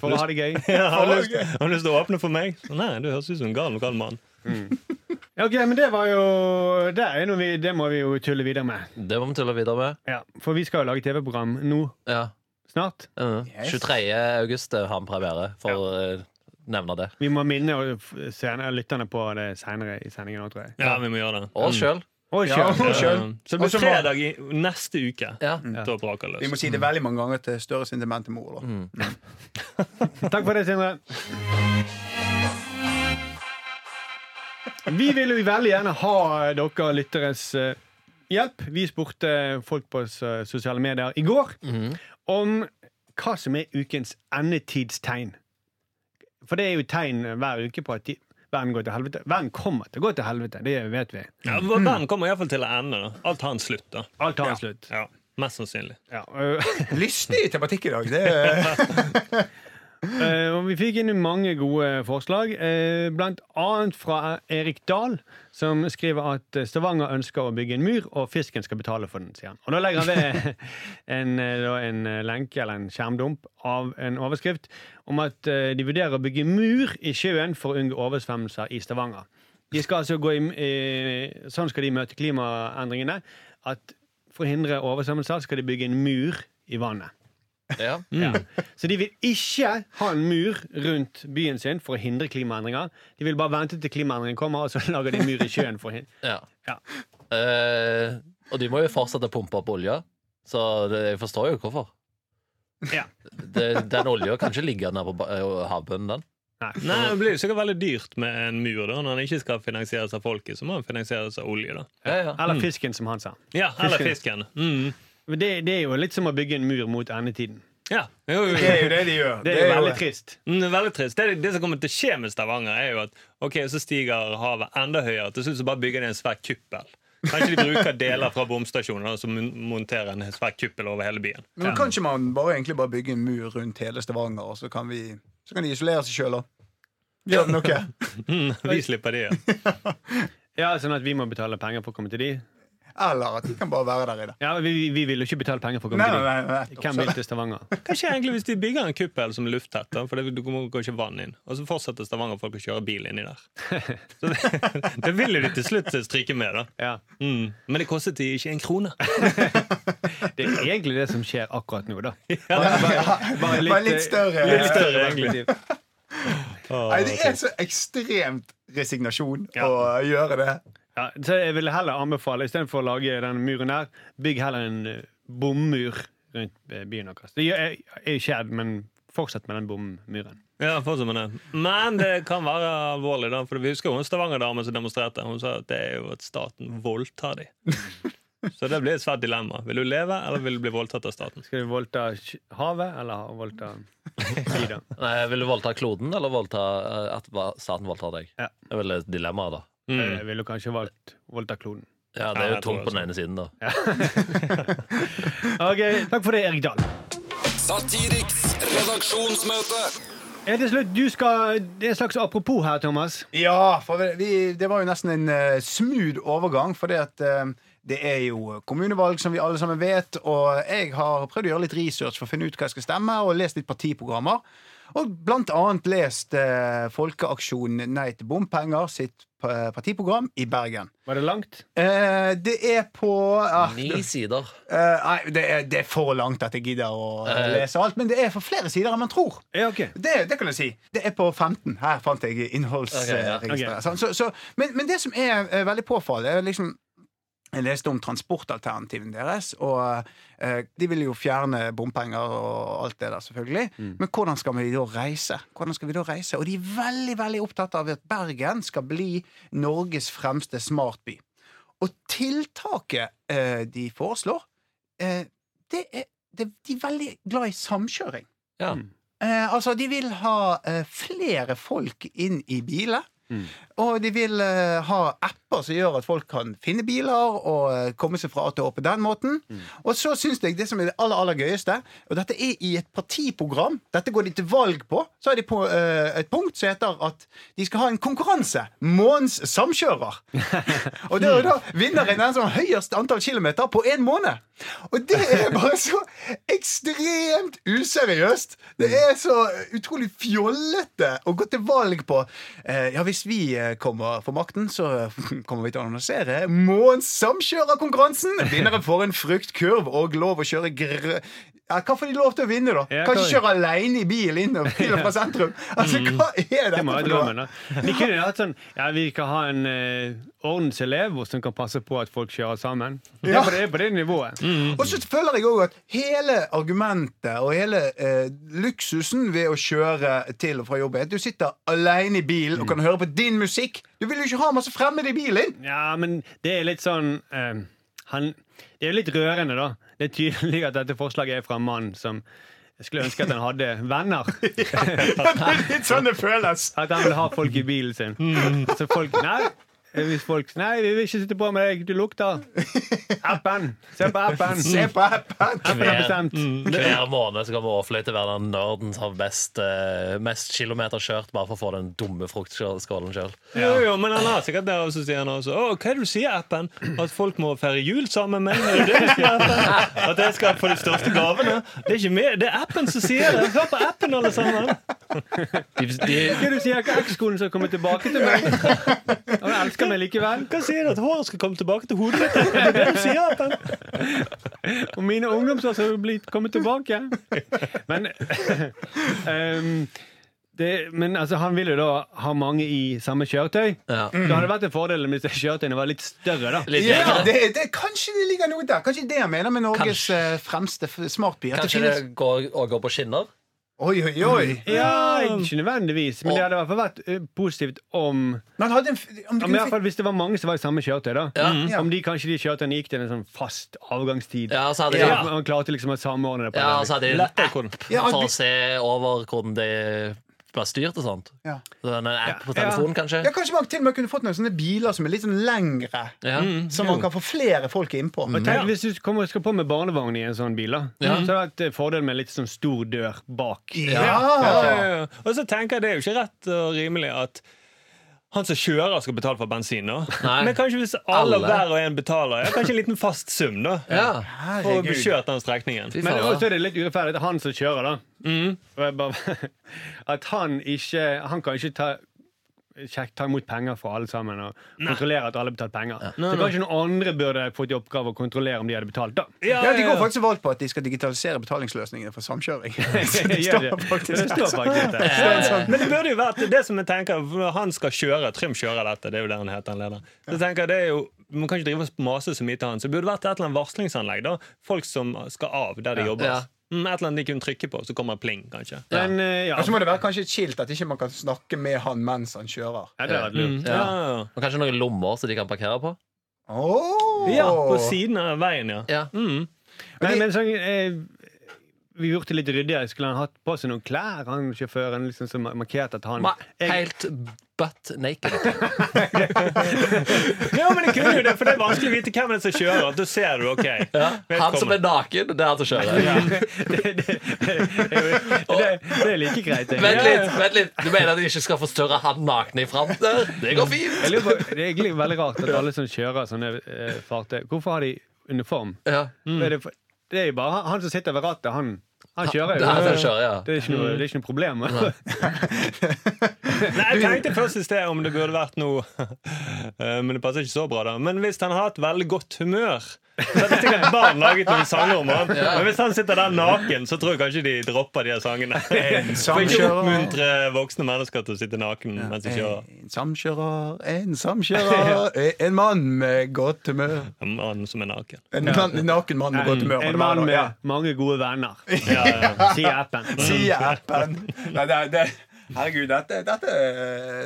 Speaker 2: For å ha det gøy
Speaker 5: Ja, har, du lyst, har du lyst til å åpne for meg? Så, Nei, du høres ut som en gal lokal mann.
Speaker 2: Ja, Ok, men det var jo Det, er jo noe vi, det må vi jo tulle videre med
Speaker 4: Det må vi tulle videre med.
Speaker 2: ja, For vi skal jo lage TV-program nå
Speaker 4: Ja.
Speaker 2: snart
Speaker 4: Mm. 23. august eh, har han premiere, for å eh, nevne det.
Speaker 2: Vi må minne og f- senere, lytterne på det senere i sendingen nå, tror jeg
Speaker 5: Ja, vi må gjøre det.
Speaker 4: Og sjøl.
Speaker 2: Og
Speaker 3: Ja,
Speaker 2: kjør
Speaker 3: og
Speaker 5: Ja.
Speaker 3: selv.
Speaker 5: Så det blir
Speaker 3: Og så må-
Speaker 5: fredag i neste uke.
Speaker 4: Ja.
Speaker 5: Da braker det
Speaker 3: Vi må
Speaker 5: løs.
Speaker 3: si det veldig mange ganger til Støre sin demente mor. Da.
Speaker 2: Takk for det, Sindre. Vi vil jo veldig gjerne ha dere lytteres eh, hjelp. Vi spurte folk på s- sosiale medier i går om hva som er ukens endetidstegn. For det er jo tegn hver uke på at de, verden går til helvete. Verden kommer til å gå til helvete, det vet vi.
Speaker 5: Ja, Verden kommer iallfall til å ende. da. Alt har en slutt, da.
Speaker 2: Alt tar en slutt.
Speaker 5: Ja, Mest sannsynlig.
Speaker 2: Ja. eh,
Speaker 3: Lystig tematikk i dag. Det er,
Speaker 2: Eh, og vi fikk inn mange gode forslag, eh, blant annet fra Erik Dahl, som skriver at Stavanger ønsker å bygge en mur, og fisken skal betale for den, sier han. Og da legger han ved en, eh, da en eh, lenke eller en skjermdump av en overskrift om at eh, de vurderer å bygge mur i sjøen for å unngå oversvømmelser i Stavanger. De skal altså gå i, eh, sånn skal de møte klimaendringene. At for å hindre oversvømmelser skal de bygge en mur i vannet.
Speaker 4: Ja.
Speaker 2: Ja. Så de vil ikke ha en mur rundt byen sin for å hindre klimaendringer. De vil bare vente til klimaendringen kommer, og så lager de mur i sjøen. for å hin-
Speaker 4: Ja.
Speaker 2: Ja.
Speaker 4: Eh, og de må jo fortsette å pumpe opp olje, så det, jeg forstår jo hvorfor.
Speaker 2: Ja.
Speaker 4: Det, den olja kan ikke ligge nede på ba- eh, havbunnen, den.
Speaker 5: Nei, Det blir jo sikkert veldig dyrt med en mur da når den ikke skal finansieres av folket. Så må den finansieres av olje. da
Speaker 4: Ja, ja.
Speaker 2: Eller fisken, som han sa.
Speaker 5: Ja, Eller
Speaker 2: Fisken.
Speaker 5: fisken. Mm.
Speaker 2: Men Det, det er jo litt som å bygge en mur mot endetiden.
Speaker 5: Ja, jo, jo,
Speaker 3: Det
Speaker 5: jo.
Speaker 3: er jo det de gjør.
Speaker 2: Det er jo veldig trist.
Speaker 5: Mm, det er veldig trist. Det, er det som kommer til å skje med Stavanger, er jo at ok, så stiger havet enda høyere. Til slutt så bare bygger de en svær kuppel. Kanskje de bruker deler fra bomstasjonen og så mon- monterer en svær kuppel over hele byen.
Speaker 3: Men kan ikke man bare, egentlig bare bygge en mur rundt hele Stavanger, og så kan, vi, så kan de isolere seg sjøl, da? Gjør det noe?
Speaker 5: Mm, vi slipper det. Ja.
Speaker 2: Ja, Sånn at vi må betale penger for å komme til de.
Speaker 3: Eller at de kan bare være der i det.
Speaker 2: Ja, Vi, vi vil jo ikke betale penger for å komme
Speaker 3: Nei,
Speaker 2: til de.
Speaker 3: nei, nei, nettopp.
Speaker 2: Hvem vil til Stavanger?
Speaker 5: Hva skjer egentlig hvis de bygger en kuppel som er lufttett? da? For det det kommer- går ikke vann inn. Og så fortsetter Stavanger-folk å kjøre bil inni der. Så det, det vil jo de til slutt stryke med, da.
Speaker 2: Ja.
Speaker 5: Mm. Men det kostet de ikke en krone.
Speaker 2: Det er egentlig det som skjer akkurat nå, da.
Speaker 3: Bare litt, større.
Speaker 5: Litt større, egentlig.
Speaker 3: Nei, det er så ekstremt resignasjon å gjøre det.
Speaker 2: Ja, så jeg ville heller anbefale, istedenfor å lage den muren der, bygg heller en eh, bommur rundt eh, byen deres. Det er er jo skjedd, men fortsett med den bommuren.
Speaker 5: Ja, fortsatt med det. Men det kan være alvorlig, da. For vi husker jo hun Stavanger-damen som demonstrerte. Hun sa at det er jo at staten voldtar de. Så det blir et svært dilemma. Vil du leve, eller vil du bli voldtatt av staten?
Speaker 2: Skal du voldta sj- havet, eller ha- voldta sida?
Speaker 4: Nei, Vil du voldta kloden, eller voldta, eh, at va- staten voldtar deg?
Speaker 2: Ja.
Speaker 4: Det er vel et dilemma, da.
Speaker 5: Mm.
Speaker 2: Eh, Jeg ville kanskje valgt voldta kloden.
Speaker 4: Ja, Det er
Speaker 5: Ja,
Speaker 4: jo
Speaker 5: jeg tror
Speaker 4: tungt på den
Speaker 5: det
Speaker 4: ene siden, da.
Speaker 2: Ok, Takk for det, Erik Dahl.
Speaker 7: Satiriks redaksjonsmøte.
Speaker 2: Eh, Til slutt, du skal, Det er et slags apropos her, Thomas.
Speaker 3: Ja, for vi- vi, det var jo nesten en eh, smooth overgang, for det, at, eh, det er jo kommunevalg, som vi alle sammen vet. Og jeg har prøvd å gjøre litt research for å finne ut hva jeg skal stemme, og lest litt partiprogrammer. Og blant annet lest eh, Folkeaksjonen Nei til bompenger sitt eh, partiprogram i Bergen.
Speaker 2: Var det langt?
Speaker 3: Eh, det er på ah,
Speaker 4: Ni sider.
Speaker 3: eh, Nei, det er, det er for langt at jeg gidder å eh, lese alt, men det er for flere sider enn man tror.
Speaker 2: Ja, ok.
Speaker 3: Det, det kan jeg si. Det er på 15. Her fant jeg innholdsregisteret.
Speaker 4: Ok,
Speaker 2: ja, ok.
Speaker 3: sant? Så, så, men, men det som er eh, veldig påfallende, er liksom jeg leste om transportalternativene deres, og eh, de vil jo fjerne bompenger og alt det der, selvfølgelig. Men hvordan skal vi da reise? Hvordan skal vi da reise? Og de er veldig, veldig opptatt av at Bergen skal bli Norges fremste smartby. Og tiltaket eh, de foreslår, eh, det er, det, de er veldig glad i samkjøring.
Speaker 4: Ja.
Speaker 3: Eh, altså, de vil ha eh, flere folk inn i biler. Og de vil eh, ha apper som gjør at folk kan finne biler og eh, komme seg fra A til Å på den måten. Og så syns jeg det som er det aller aller gøyeste, og dette er i et partiprogram, dette går de til valg på, så er de på eh, et punkt som heter at de skal ha en konkurranse. Månens samkjører. og det er jo da vinneren den som har høyest antall kilometer på én måned. Og det er bare så ekstremt useriøst. Det er så utrolig fjollete å gå til valg på eh, Ja, hvis vi eh, kommer for makten, så kommer vi til å annonsere Måns samkjørerkonkurransen! Vinneren får en fruktkurv og lov å kjøre gr... Ja, hva får de lov til å vinne, da?
Speaker 2: Ja, hva-
Speaker 3: Kanskje
Speaker 2: Mm.
Speaker 3: kjøre aleine i bil inn og til og fra sentrum? Altså, hva er dette
Speaker 2: Det må være
Speaker 3: for noe?
Speaker 2: drømmen, da. Vi kunne hatt sånn Ja, vi kan ha en eh, ordenselev som kan passe på at folk kjører sammen. Det
Speaker 3: Ja.
Speaker 2: er på det, på det nivået. Mm.
Speaker 3: Og så føler jeg òg at hele argumentet og hele eh, luksusen ved å kjøre til og fra jobb er at du sitter aleine i bilen og kan høre på din musikk. Du vil jo ikke ha masse fremmede i bilen!
Speaker 2: Ja, men det er litt sånn eh, han, Det er jo litt rørende, da. Det er tydelig at dette forslaget er fra en mann som skulle ønske at han hadde venner.
Speaker 3: det er litt sånn det føles.
Speaker 2: At han ville ha folk i bilen sin. Så folk Nei, Eh, Hvis folk sier 'nei, vi vil ikke sitte på med deg, du lukter'. Appen! Se på appen!
Speaker 3: Se på appen!
Speaker 2: Appen har bestemt.
Speaker 4: Hver måned så kommer Åfløy til å være den nerden som har best, eh, mest kilometer kjørt bare for å få den dumme fruktskålen sjøl.
Speaker 5: Jo, jo, men han har sikkert det også, sier han også. Å, hva er det du sier, appen? At folk må feire jul sammen med meg? Er det det du sier, appen? At jeg skal få de største gavene? Det er ikke meg, det er appen som sier det. Hør på appen, alle sammen.
Speaker 4: De, de,
Speaker 2: Hva du sier hva ekskonen som kommer tilbake til meg? Han elsker meg likevel.
Speaker 5: Hva sier du? At håret skal komme tilbake til hodet ditt? Det er det du sier, appen.
Speaker 2: Og mine ungdomsår som er blitt kommet tilbake. Men ehm, det, Men altså, han vil jo da ha mange i samme kjøretøy.
Speaker 4: Ja.
Speaker 2: Så hadde det vært en fordel om disse kjøretøyene var litt større, da.
Speaker 4: litt
Speaker 3: Ja,
Speaker 4: lengre.
Speaker 3: det, det, kanskje det ligger noe der. Kanskje det han mener med Norges eh, fremste f- smartby. At det Mm.
Speaker 4: Kanskje det
Speaker 3: finnes
Speaker 4: går, og går på skinner?
Speaker 3: Oi, oi, oi!
Speaker 2: Ja, ikke nødvendigvis, men det hadde i hvert fall vært eh, positivt om
Speaker 3: Men han hadde en, f-
Speaker 2: Ja,
Speaker 3: om du
Speaker 2: men i
Speaker 3: kunne
Speaker 2: hvert fall Hvis det var mange som var i samme kjøretøy, da.
Speaker 4: Ja.
Speaker 2: Om de kanskje de kjøretøyene gikk til en sånn fast avgangstid.
Speaker 4: Ja, så hadde de,
Speaker 2: Så
Speaker 4: ja. altså,
Speaker 2: at Man klarte liksom å samordne det. på en
Speaker 4: så hadde de en
Speaker 5: Lett
Speaker 4: app
Speaker 5: balkon.
Speaker 3: Ja,
Speaker 4: for
Speaker 3: de-
Speaker 4: å se over hvordan det ble styrt og sånt.
Speaker 3: Ja.
Speaker 4: Så en app på
Speaker 2: Ja.
Speaker 4: telefonen,
Speaker 3: Ja,
Speaker 4: kanskje?
Speaker 3: Kanskje man til og med kunne fått noen sånne biler som er litt sånn lengre.
Speaker 4: Ja.
Speaker 3: Som man kan få flere folk innpå.
Speaker 2: Og tenk, Hvis du kommer, skal på med barnevogn i en sånn bil, da, så er det et fordel med litt sånn stor dør bak.
Speaker 5: Ja,
Speaker 3: Ja!
Speaker 5: ja, ja. Og så tenker jeg det er jo ikke rett og rimelig at han som kjører, skal betale for bensin. nå
Speaker 4: Nei.
Speaker 5: Men kanskje hvis alle,
Speaker 4: Alle.
Speaker 5: hver og en betaler, ja, kanskje en liten fast sum da
Speaker 4: Ja.
Speaker 5: for å
Speaker 3: Herregud.
Speaker 5: bli kjørt den strekningen.
Speaker 4: Fy
Speaker 2: Men
Speaker 4: faen,
Speaker 2: også er det litt urettferdig at han som kjører, da og jeg bare, At han ikke Han kan ikke ta sjekk- Ta imot penger fra alle sammen og kontrollere at alle har betalt penger. Så kanskje noen andre burde fått i oppgave å kontrollere om de hadde betalt, da.
Speaker 5: Ja,
Speaker 3: Ja, De går faktisk valg på at de skal digitalisere betalingsløsningene for samkjøring. Så
Speaker 2: Det
Speaker 3: de
Speaker 2: gjør
Speaker 3: står
Speaker 2: det.
Speaker 3: faktisk
Speaker 2: Det står faktisk der.
Speaker 5: Men det burde jo vært det som jeg tenker for Han skal kjøre, Trym kjører dette, det er jo det han heter, han leder. Så jeg tenker det er jo Man kan ikke drive og mase så mye til han. Så det burde vært et eller annet varslingsanlegg. da Folk som skal av der de jobber.
Speaker 4: Ja.
Speaker 5: Mm, et eller annet de kunne trykke på, så kommer det pling, kanskje.
Speaker 4: Ja.
Speaker 2: Men eh, ja.
Speaker 3: Og så må det være kanskje et skilt at ikke man kan snakke med han mens han kjører.
Speaker 2: ja det hadde vært lurt.
Speaker 5: Ja,
Speaker 4: Ja.
Speaker 5: ja, ja.
Speaker 4: Og kanskje noen lommer som de kan parkere på?
Speaker 3: Oh.
Speaker 5: ja på siden av veien, ja.
Speaker 4: Ja.
Speaker 5: Mm.
Speaker 2: Nei,
Speaker 3: de-
Speaker 2: men sånn, eh, vi gjorde det litt ryddigere. Skulle han hatt på seg noen klær, han sjåføren, liksom, som markerte at han
Speaker 4: Ma-
Speaker 2: jeg,
Speaker 4: Helt butt naked.
Speaker 5: Ja, men det kunne jo det, for det er vanskelig å vite hvem det er som kjører. Da ser du, ok
Speaker 4: Han som er naken, det er han som kjører.
Speaker 2: det, det er like greit. egentlig.
Speaker 4: Vent litt, vent litt. Du mener at de ikke skal forstørre han nakne i framtida? Det går
Speaker 2: Jeg
Speaker 4: fint.
Speaker 2: lurer på, det er egentlig veldig rart at alle som kjører sånne eh, fartøy Hvorfor har de uniform?
Speaker 4: Ja.
Speaker 2: Er det, for- det er jo bare han- han som sitter ved rattet, han, han kjører
Speaker 4: Det er han
Speaker 2: jo.
Speaker 4: som kjører, ja.
Speaker 2: Det er ikke noe, det er ikke noe problem.
Speaker 5: Nei, Jeg tenkte først i sted om det burde vært noe Eh, Men det passer ikke så bra, da. Men hvis han har hatt veldig godt humør så hadde sikkert barn laget noen sanger om han Men hvis han sitter der naken, så tror jeg kanskje de dropper de her sangene. For ikke
Speaker 3: Samkjører.
Speaker 5: oppmuntre voksne mennesker til å sitte naken mens de kjører.
Speaker 3: En samkjører, en samkjører, eh, en mann med godt humør.
Speaker 5: En mann som er naken.
Speaker 3: En mann, en naken mann med godt humør. må det
Speaker 2: En
Speaker 3: være
Speaker 2: mann
Speaker 3: da.
Speaker 2: med
Speaker 3: Ja.
Speaker 2: mange gode venner.
Speaker 5: Ja, ja, ja.
Speaker 2: Sier appen.
Speaker 3: Sier appen. Nei, det, er- det, herregud, dette, dette,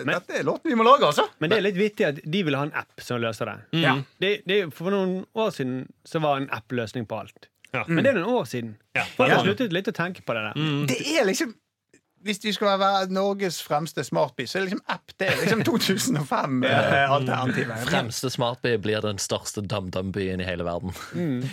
Speaker 3: dette er låten vi må lage, altså.
Speaker 2: Men det er litt vittig at de vil ha en app som løser det.
Speaker 3: Ja.
Speaker 2: det, det for noen år siden så var en app-løsning på alt.
Speaker 5: Ja.
Speaker 2: Men det er noen år siden.
Speaker 5: Mm. Ja.
Speaker 2: Folk har
Speaker 3: Ja.
Speaker 2: sluttet litt å tenke på det der.
Speaker 3: Det er liksom hvis du skal være Norges fremste smartby, så er det liksom app. Det er liksom eh, 2005-alternativet.
Speaker 4: Fremste smartby blir den største dum-dum-byen i hele verden.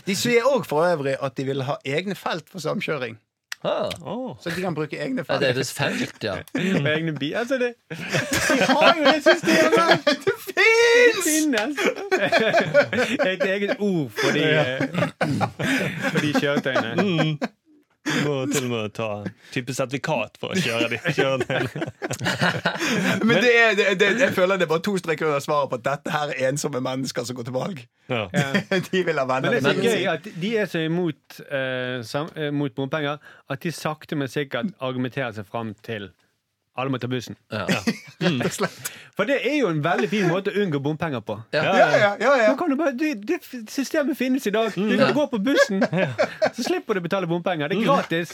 Speaker 3: De sier òg for øvrig at de vil ha egne felt for samkjøring.
Speaker 4: Ah.
Speaker 5: Åh.
Speaker 3: Så de kan bruke egne
Speaker 4: Ja,
Speaker 3: felt.
Speaker 4: det er visst felt, ja.
Speaker 2: Med egne bi altså det, de har jo det systemet!
Speaker 3: Det fins!
Speaker 2: Finnes! Et eget ord for de, eh, for de kjøretøyene.
Speaker 5: Må til og med ta type sertifikat for å kjøre de kjørene.
Speaker 3: Men det er, det, det, jeg føler det er bare to streker under svaret på at dette her er ensomme mennesker som går til valg.
Speaker 5: Ja.
Speaker 3: De vil ha venner.
Speaker 2: Men det er
Speaker 3: de
Speaker 2: så
Speaker 3: vil
Speaker 2: gøy at de er så imot eh, sam, eh, mot bompenger at de sakte, men sikkert argumenterer seg fram til alle må ta bussen.
Speaker 4: Ja.
Speaker 2: Mm.
Speaker 3: rett og slett.
Speaker 2: For det er jo en veldig fin måte å unngå bompenger på.
Speaker 3: Ja, ja, ja, ja.
Speaker 2: Nå kan du bare, du, det systemet finnes i dag.
Speaker 3: Mm.
Speaker 2: Du kan gå på bussen, så slipper du å betale bompenger. Det er gratis.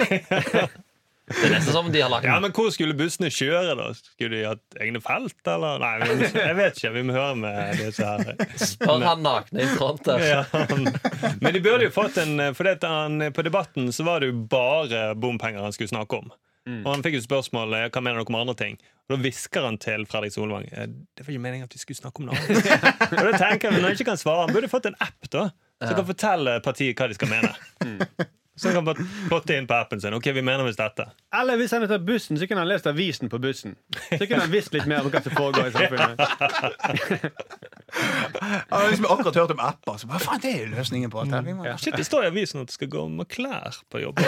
Speaker 4: Det er nesten som de har lagt
Speaker 5: Ja, men Hvor skulle bussene kjøre, da? Skulle de hatt egne felt, eller? Nei, vi må, jeg vet ikke. Vi må høre med disse her.
Speaker 4: Spør han nakne i front der.
Speaker 5: Ja. Men de burde jo fått en For det at han, på Debatten så var det jo bare bompenger han skulle snakke om. Og han fikk jo spørsmål eh, hva mener dere om andre ting. Og Da hvisker han til Fredrik Solvang eh, det var ikke meningen at vi skulle snakke om noe annet. og da tenker jeg, Når han ikke kan svare, han burde fått en app da som kan fortelle partiet hva de skal mene. Så han kan bare potte inn på appen sin. Ok, vi mener visst dette.
Speaker 2: Eller hvis han tar bussen, så kunne han lest avisen på bussen. Så kunne han visst litt mer om hva som foregår i samfunnet.
Speaker 3: Han har liksom akkurat hørt om apper. Så hva faen, det er jo løsningen på alt her. Vi må-
Speaker 5: Shit, Det står i avisen at du skal gå med klær på jobb.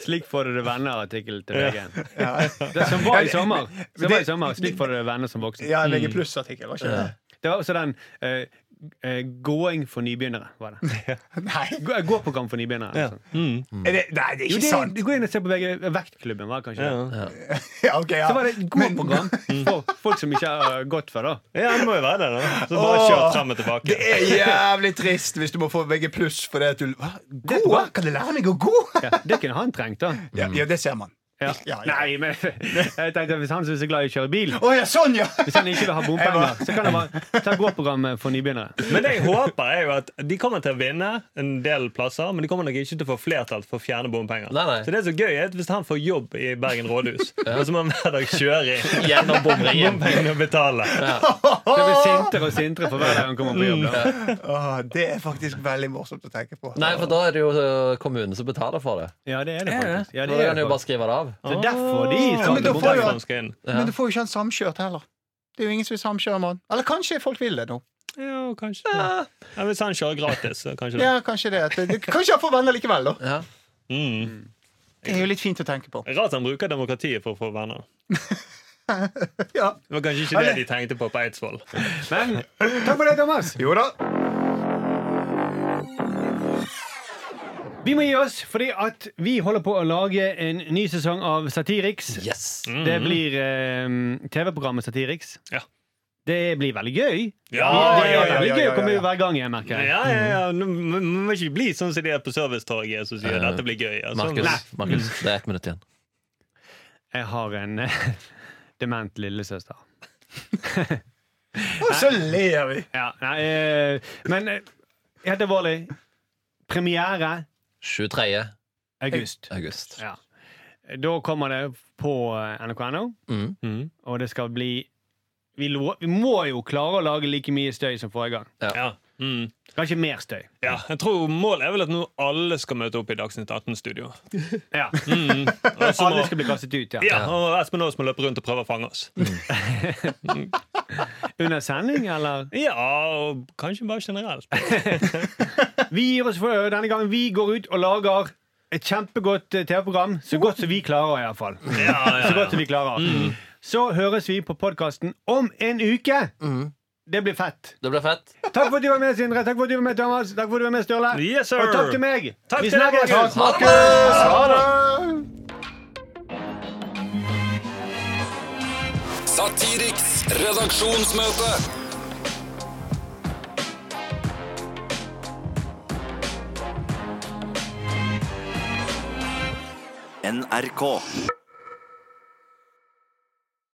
Speaker 2: Slik får du det venner-artikkel til VG.
Speaker 3: Ja.
Speaker 2: Det som var i sommer.
Speaker 3: det-
Speaker 2: Som var i sommer. Slik får du det venner som voksen.
Speaker 3: Ja, VG pluss-artikkel, var ikke det?
Speaker 2: Det var også den eh, eh, Gåing for nybegynnere, var det.
Speaker 3: Nei,
Speaker 2: Gå- eh, Gåprogram for nybegynnere.
Speaker 5: Ja.
Speaker 2: altså.
Speaker 5: Mm.
Speaker 3: er det, nei, det er
Speaker 2: Jo,
Speaker 3: ikke
Speaker 2: det,
Speaker 3: sant.
Speaker 2: du går inn og ser på VG Vektklubben, var det kanskje? det?
Speaker 5: Ja.
Speaker 3: Ja, ok, ja.
Speaker 2: Så var det et
Speaker 3: Men-
Speaker 2: gåprogram for folk som ikke har gått før, da.
Speaker 5: Ja, han må jo være det, da. Så bare kjør
Speaker 3: Åh,
Speaker 5: frem og tilbake.
Speaker 3: Det er jævlig trist hvis du må få VG pluss fordi at du Hva? Gå? Kan du lære meg å gå?
Speaker 2: Ja, det kunne han trengt, da.
Speaker 3: Ja, ja det ser man.
Speaker 2: Ja.
Speaker 3: Ja, ja.
Speaker 2: Nei, men jeg tenkte at hvis han som er så glad i å kjøre bil
Speaker 3: Å ja, sånn, ja!
Speaker 2: Hvis han ikke vil ha bompenger, så kan han bare ta gåprogrammet for nybegynnere.
Speaker 5: Men det jeg håper er jo at de kommer til å vinne en del plasser, men de kommer nok ikke til å få flertall for å fjerne bompenger.
Speaker 4: Nei, nei.
Speaker 5: Så det som er så gøy er at hvis han får jobb i Bergen rådhus, og så må han hver dag kjøre i
Speaker 4: Gjennom bomringen.
Speaker 5: bompengene og betale.
Speaker 2: Det blir sintere og sintere for hver dag han kommer på jobb. Da.
Speaker 3: Åh, det er faktisk veldig morsomt å tenke på.
Speaker 4: Nei, for da er det jo eh, kommunen som betaler for det.
Speaker 2: Ja, det er det faktisk. Ja,
Speaker 4: Da
Speaker 2: det er
Speaker 4: kan de
Speaker 2: det
Speaker 4: jo bare
Speaker 2: faktisk.
Speaker 4: skrive det av.
Speaker 2: Så derfor de
Speaker 5: Ja, men
Speaker 2: starter
Speaker 5: da
Speaker 3: får jo-
Speaker 5: får jo
Speaker 2: bompenger.
Speaker 5: han skal inn.
Speaker 3: Men du får jo ikke han samkjørt heller. Det er jo ingen som vil samkjøre med han. Eller kanskje folk vil det nå.
Speaker 5: Ja, kanskje det. Ja, hvis han kjører gratis, så kanskje det.
Speaker 3: Ja, Kanskje det. at det- Kanskje han får venner likevel, da.
Speaker 4: Ja.
Speaker 5: Mm.
Speaker 3: Det er jo litt fint å tenke på.
Speaker 5: Rart han bruker demokratiet for å få venner.
Speaker 3: Ja.
Speaker 5: Det var kanskje ikke det de tenkte på på Eidsvoll.
Speaker 2: Men takk for det, Thomas.
Speaker 3: Jo da.
Speaker 2: Vi må gi oss fordi at vi holder på å lage en ny sesong av Satiriks.
Speaker 4: Yes!
Speaker 2: Det blir eh, TV-programmet Satiriks.
Speaker 5: Ja.
Speaker 2: Det blir veldig gøy.
Speaker 5: Ja,
Speaker 2: det
Speaker 5: ja,
Speaker 2: er
Speaker 5: ja,
Speaker 2: veldig
Speaker 3: ja,
Speaker 2: gøy
Speaker 3: ja,
Speaker 2: å komme
Speaker 3: ja.
Speaker 2: ut hver gang jeg merker jeg.
Speaker 5: Ja, ja, ja. Nå må må ikke bli sånn som de er på servicetorget som sier
Speaker 4: Ja.
Speaker 5: dette blir gøy. Altså,
Speaker 2: sånn,
Speaker 4: Markus,
Speaker 5: Nei.
Speaker 4: Markus, det er ett minutt igjen.
Speaker 2: Jeg har en eh, dement lillesøster.
Speaker 3: Og så ler vi.
Speaker 2: Ja, nei, eh, men eh, helt alvorlig. Premiere
Speaker 4: 23.
Speaker 2: august.
Speaker 4: august.
Speaker 2: Ja. Da kommer det på eh, NRK.no,
Speaker 4: Mm.
Speaker 5: Mm.
Speaker 2: og det skal bli vi, lo, vi må jo klare å lage like mye støy som forrige gang.
Speaker 5: Ja. Mm.
Speaker 2: Kanskje mer støy.
Speaker 5: Ja, jeg tror Målet er vel at nå alle skal møte opp i Dagsnytt 18-studio.
Speaker 2: Ja.
Speaker 5: Mm. Og så
Speaker 2: Alle
Speaker 5: må-
Speaker 2: skal bli kastet ut, ja.
Speaker 5: Ja, og Espen Aas må løpe rundt og prøve å fange oss.
Speaker 2: Under sending, eller?
Speaker 5: Ja, og kanskje bare generelt.
Speaker 2: Vi gir oss for denne gangen. Vi går ut og lager et kjempegodt eh, TV-program. Så godt som vi klarer, iallfall.
Speaker 5: Ja, Mm. ja,
Speaker 2: Så godt
Speaker 5: ja.
Speaker 2: som vi klarer. Så høres vi på podkasten om en uke.
Speaker 5: Mm.
Speaker 2: Det blir fett.
Speaker 4: Det blir fett.
Speaker 2: Takk for at du var med, Sindre. Takk for at du var med, Thomas. Takk for at du var med, Sturle.
Speaker 5: Yes, sir.
Speaker 2: Og takk til meg.
Speaker 5: Takk
Speaker 2: vi
Speaker 5: til deg,
Speaker 2: snakkes.
Speaker 5: Markus.
Speaker 2: Ha det.
Speaker 3: Ha det!
Speaker 7: Satiriks redaksjonsmøte.
Speaker 8: NRK.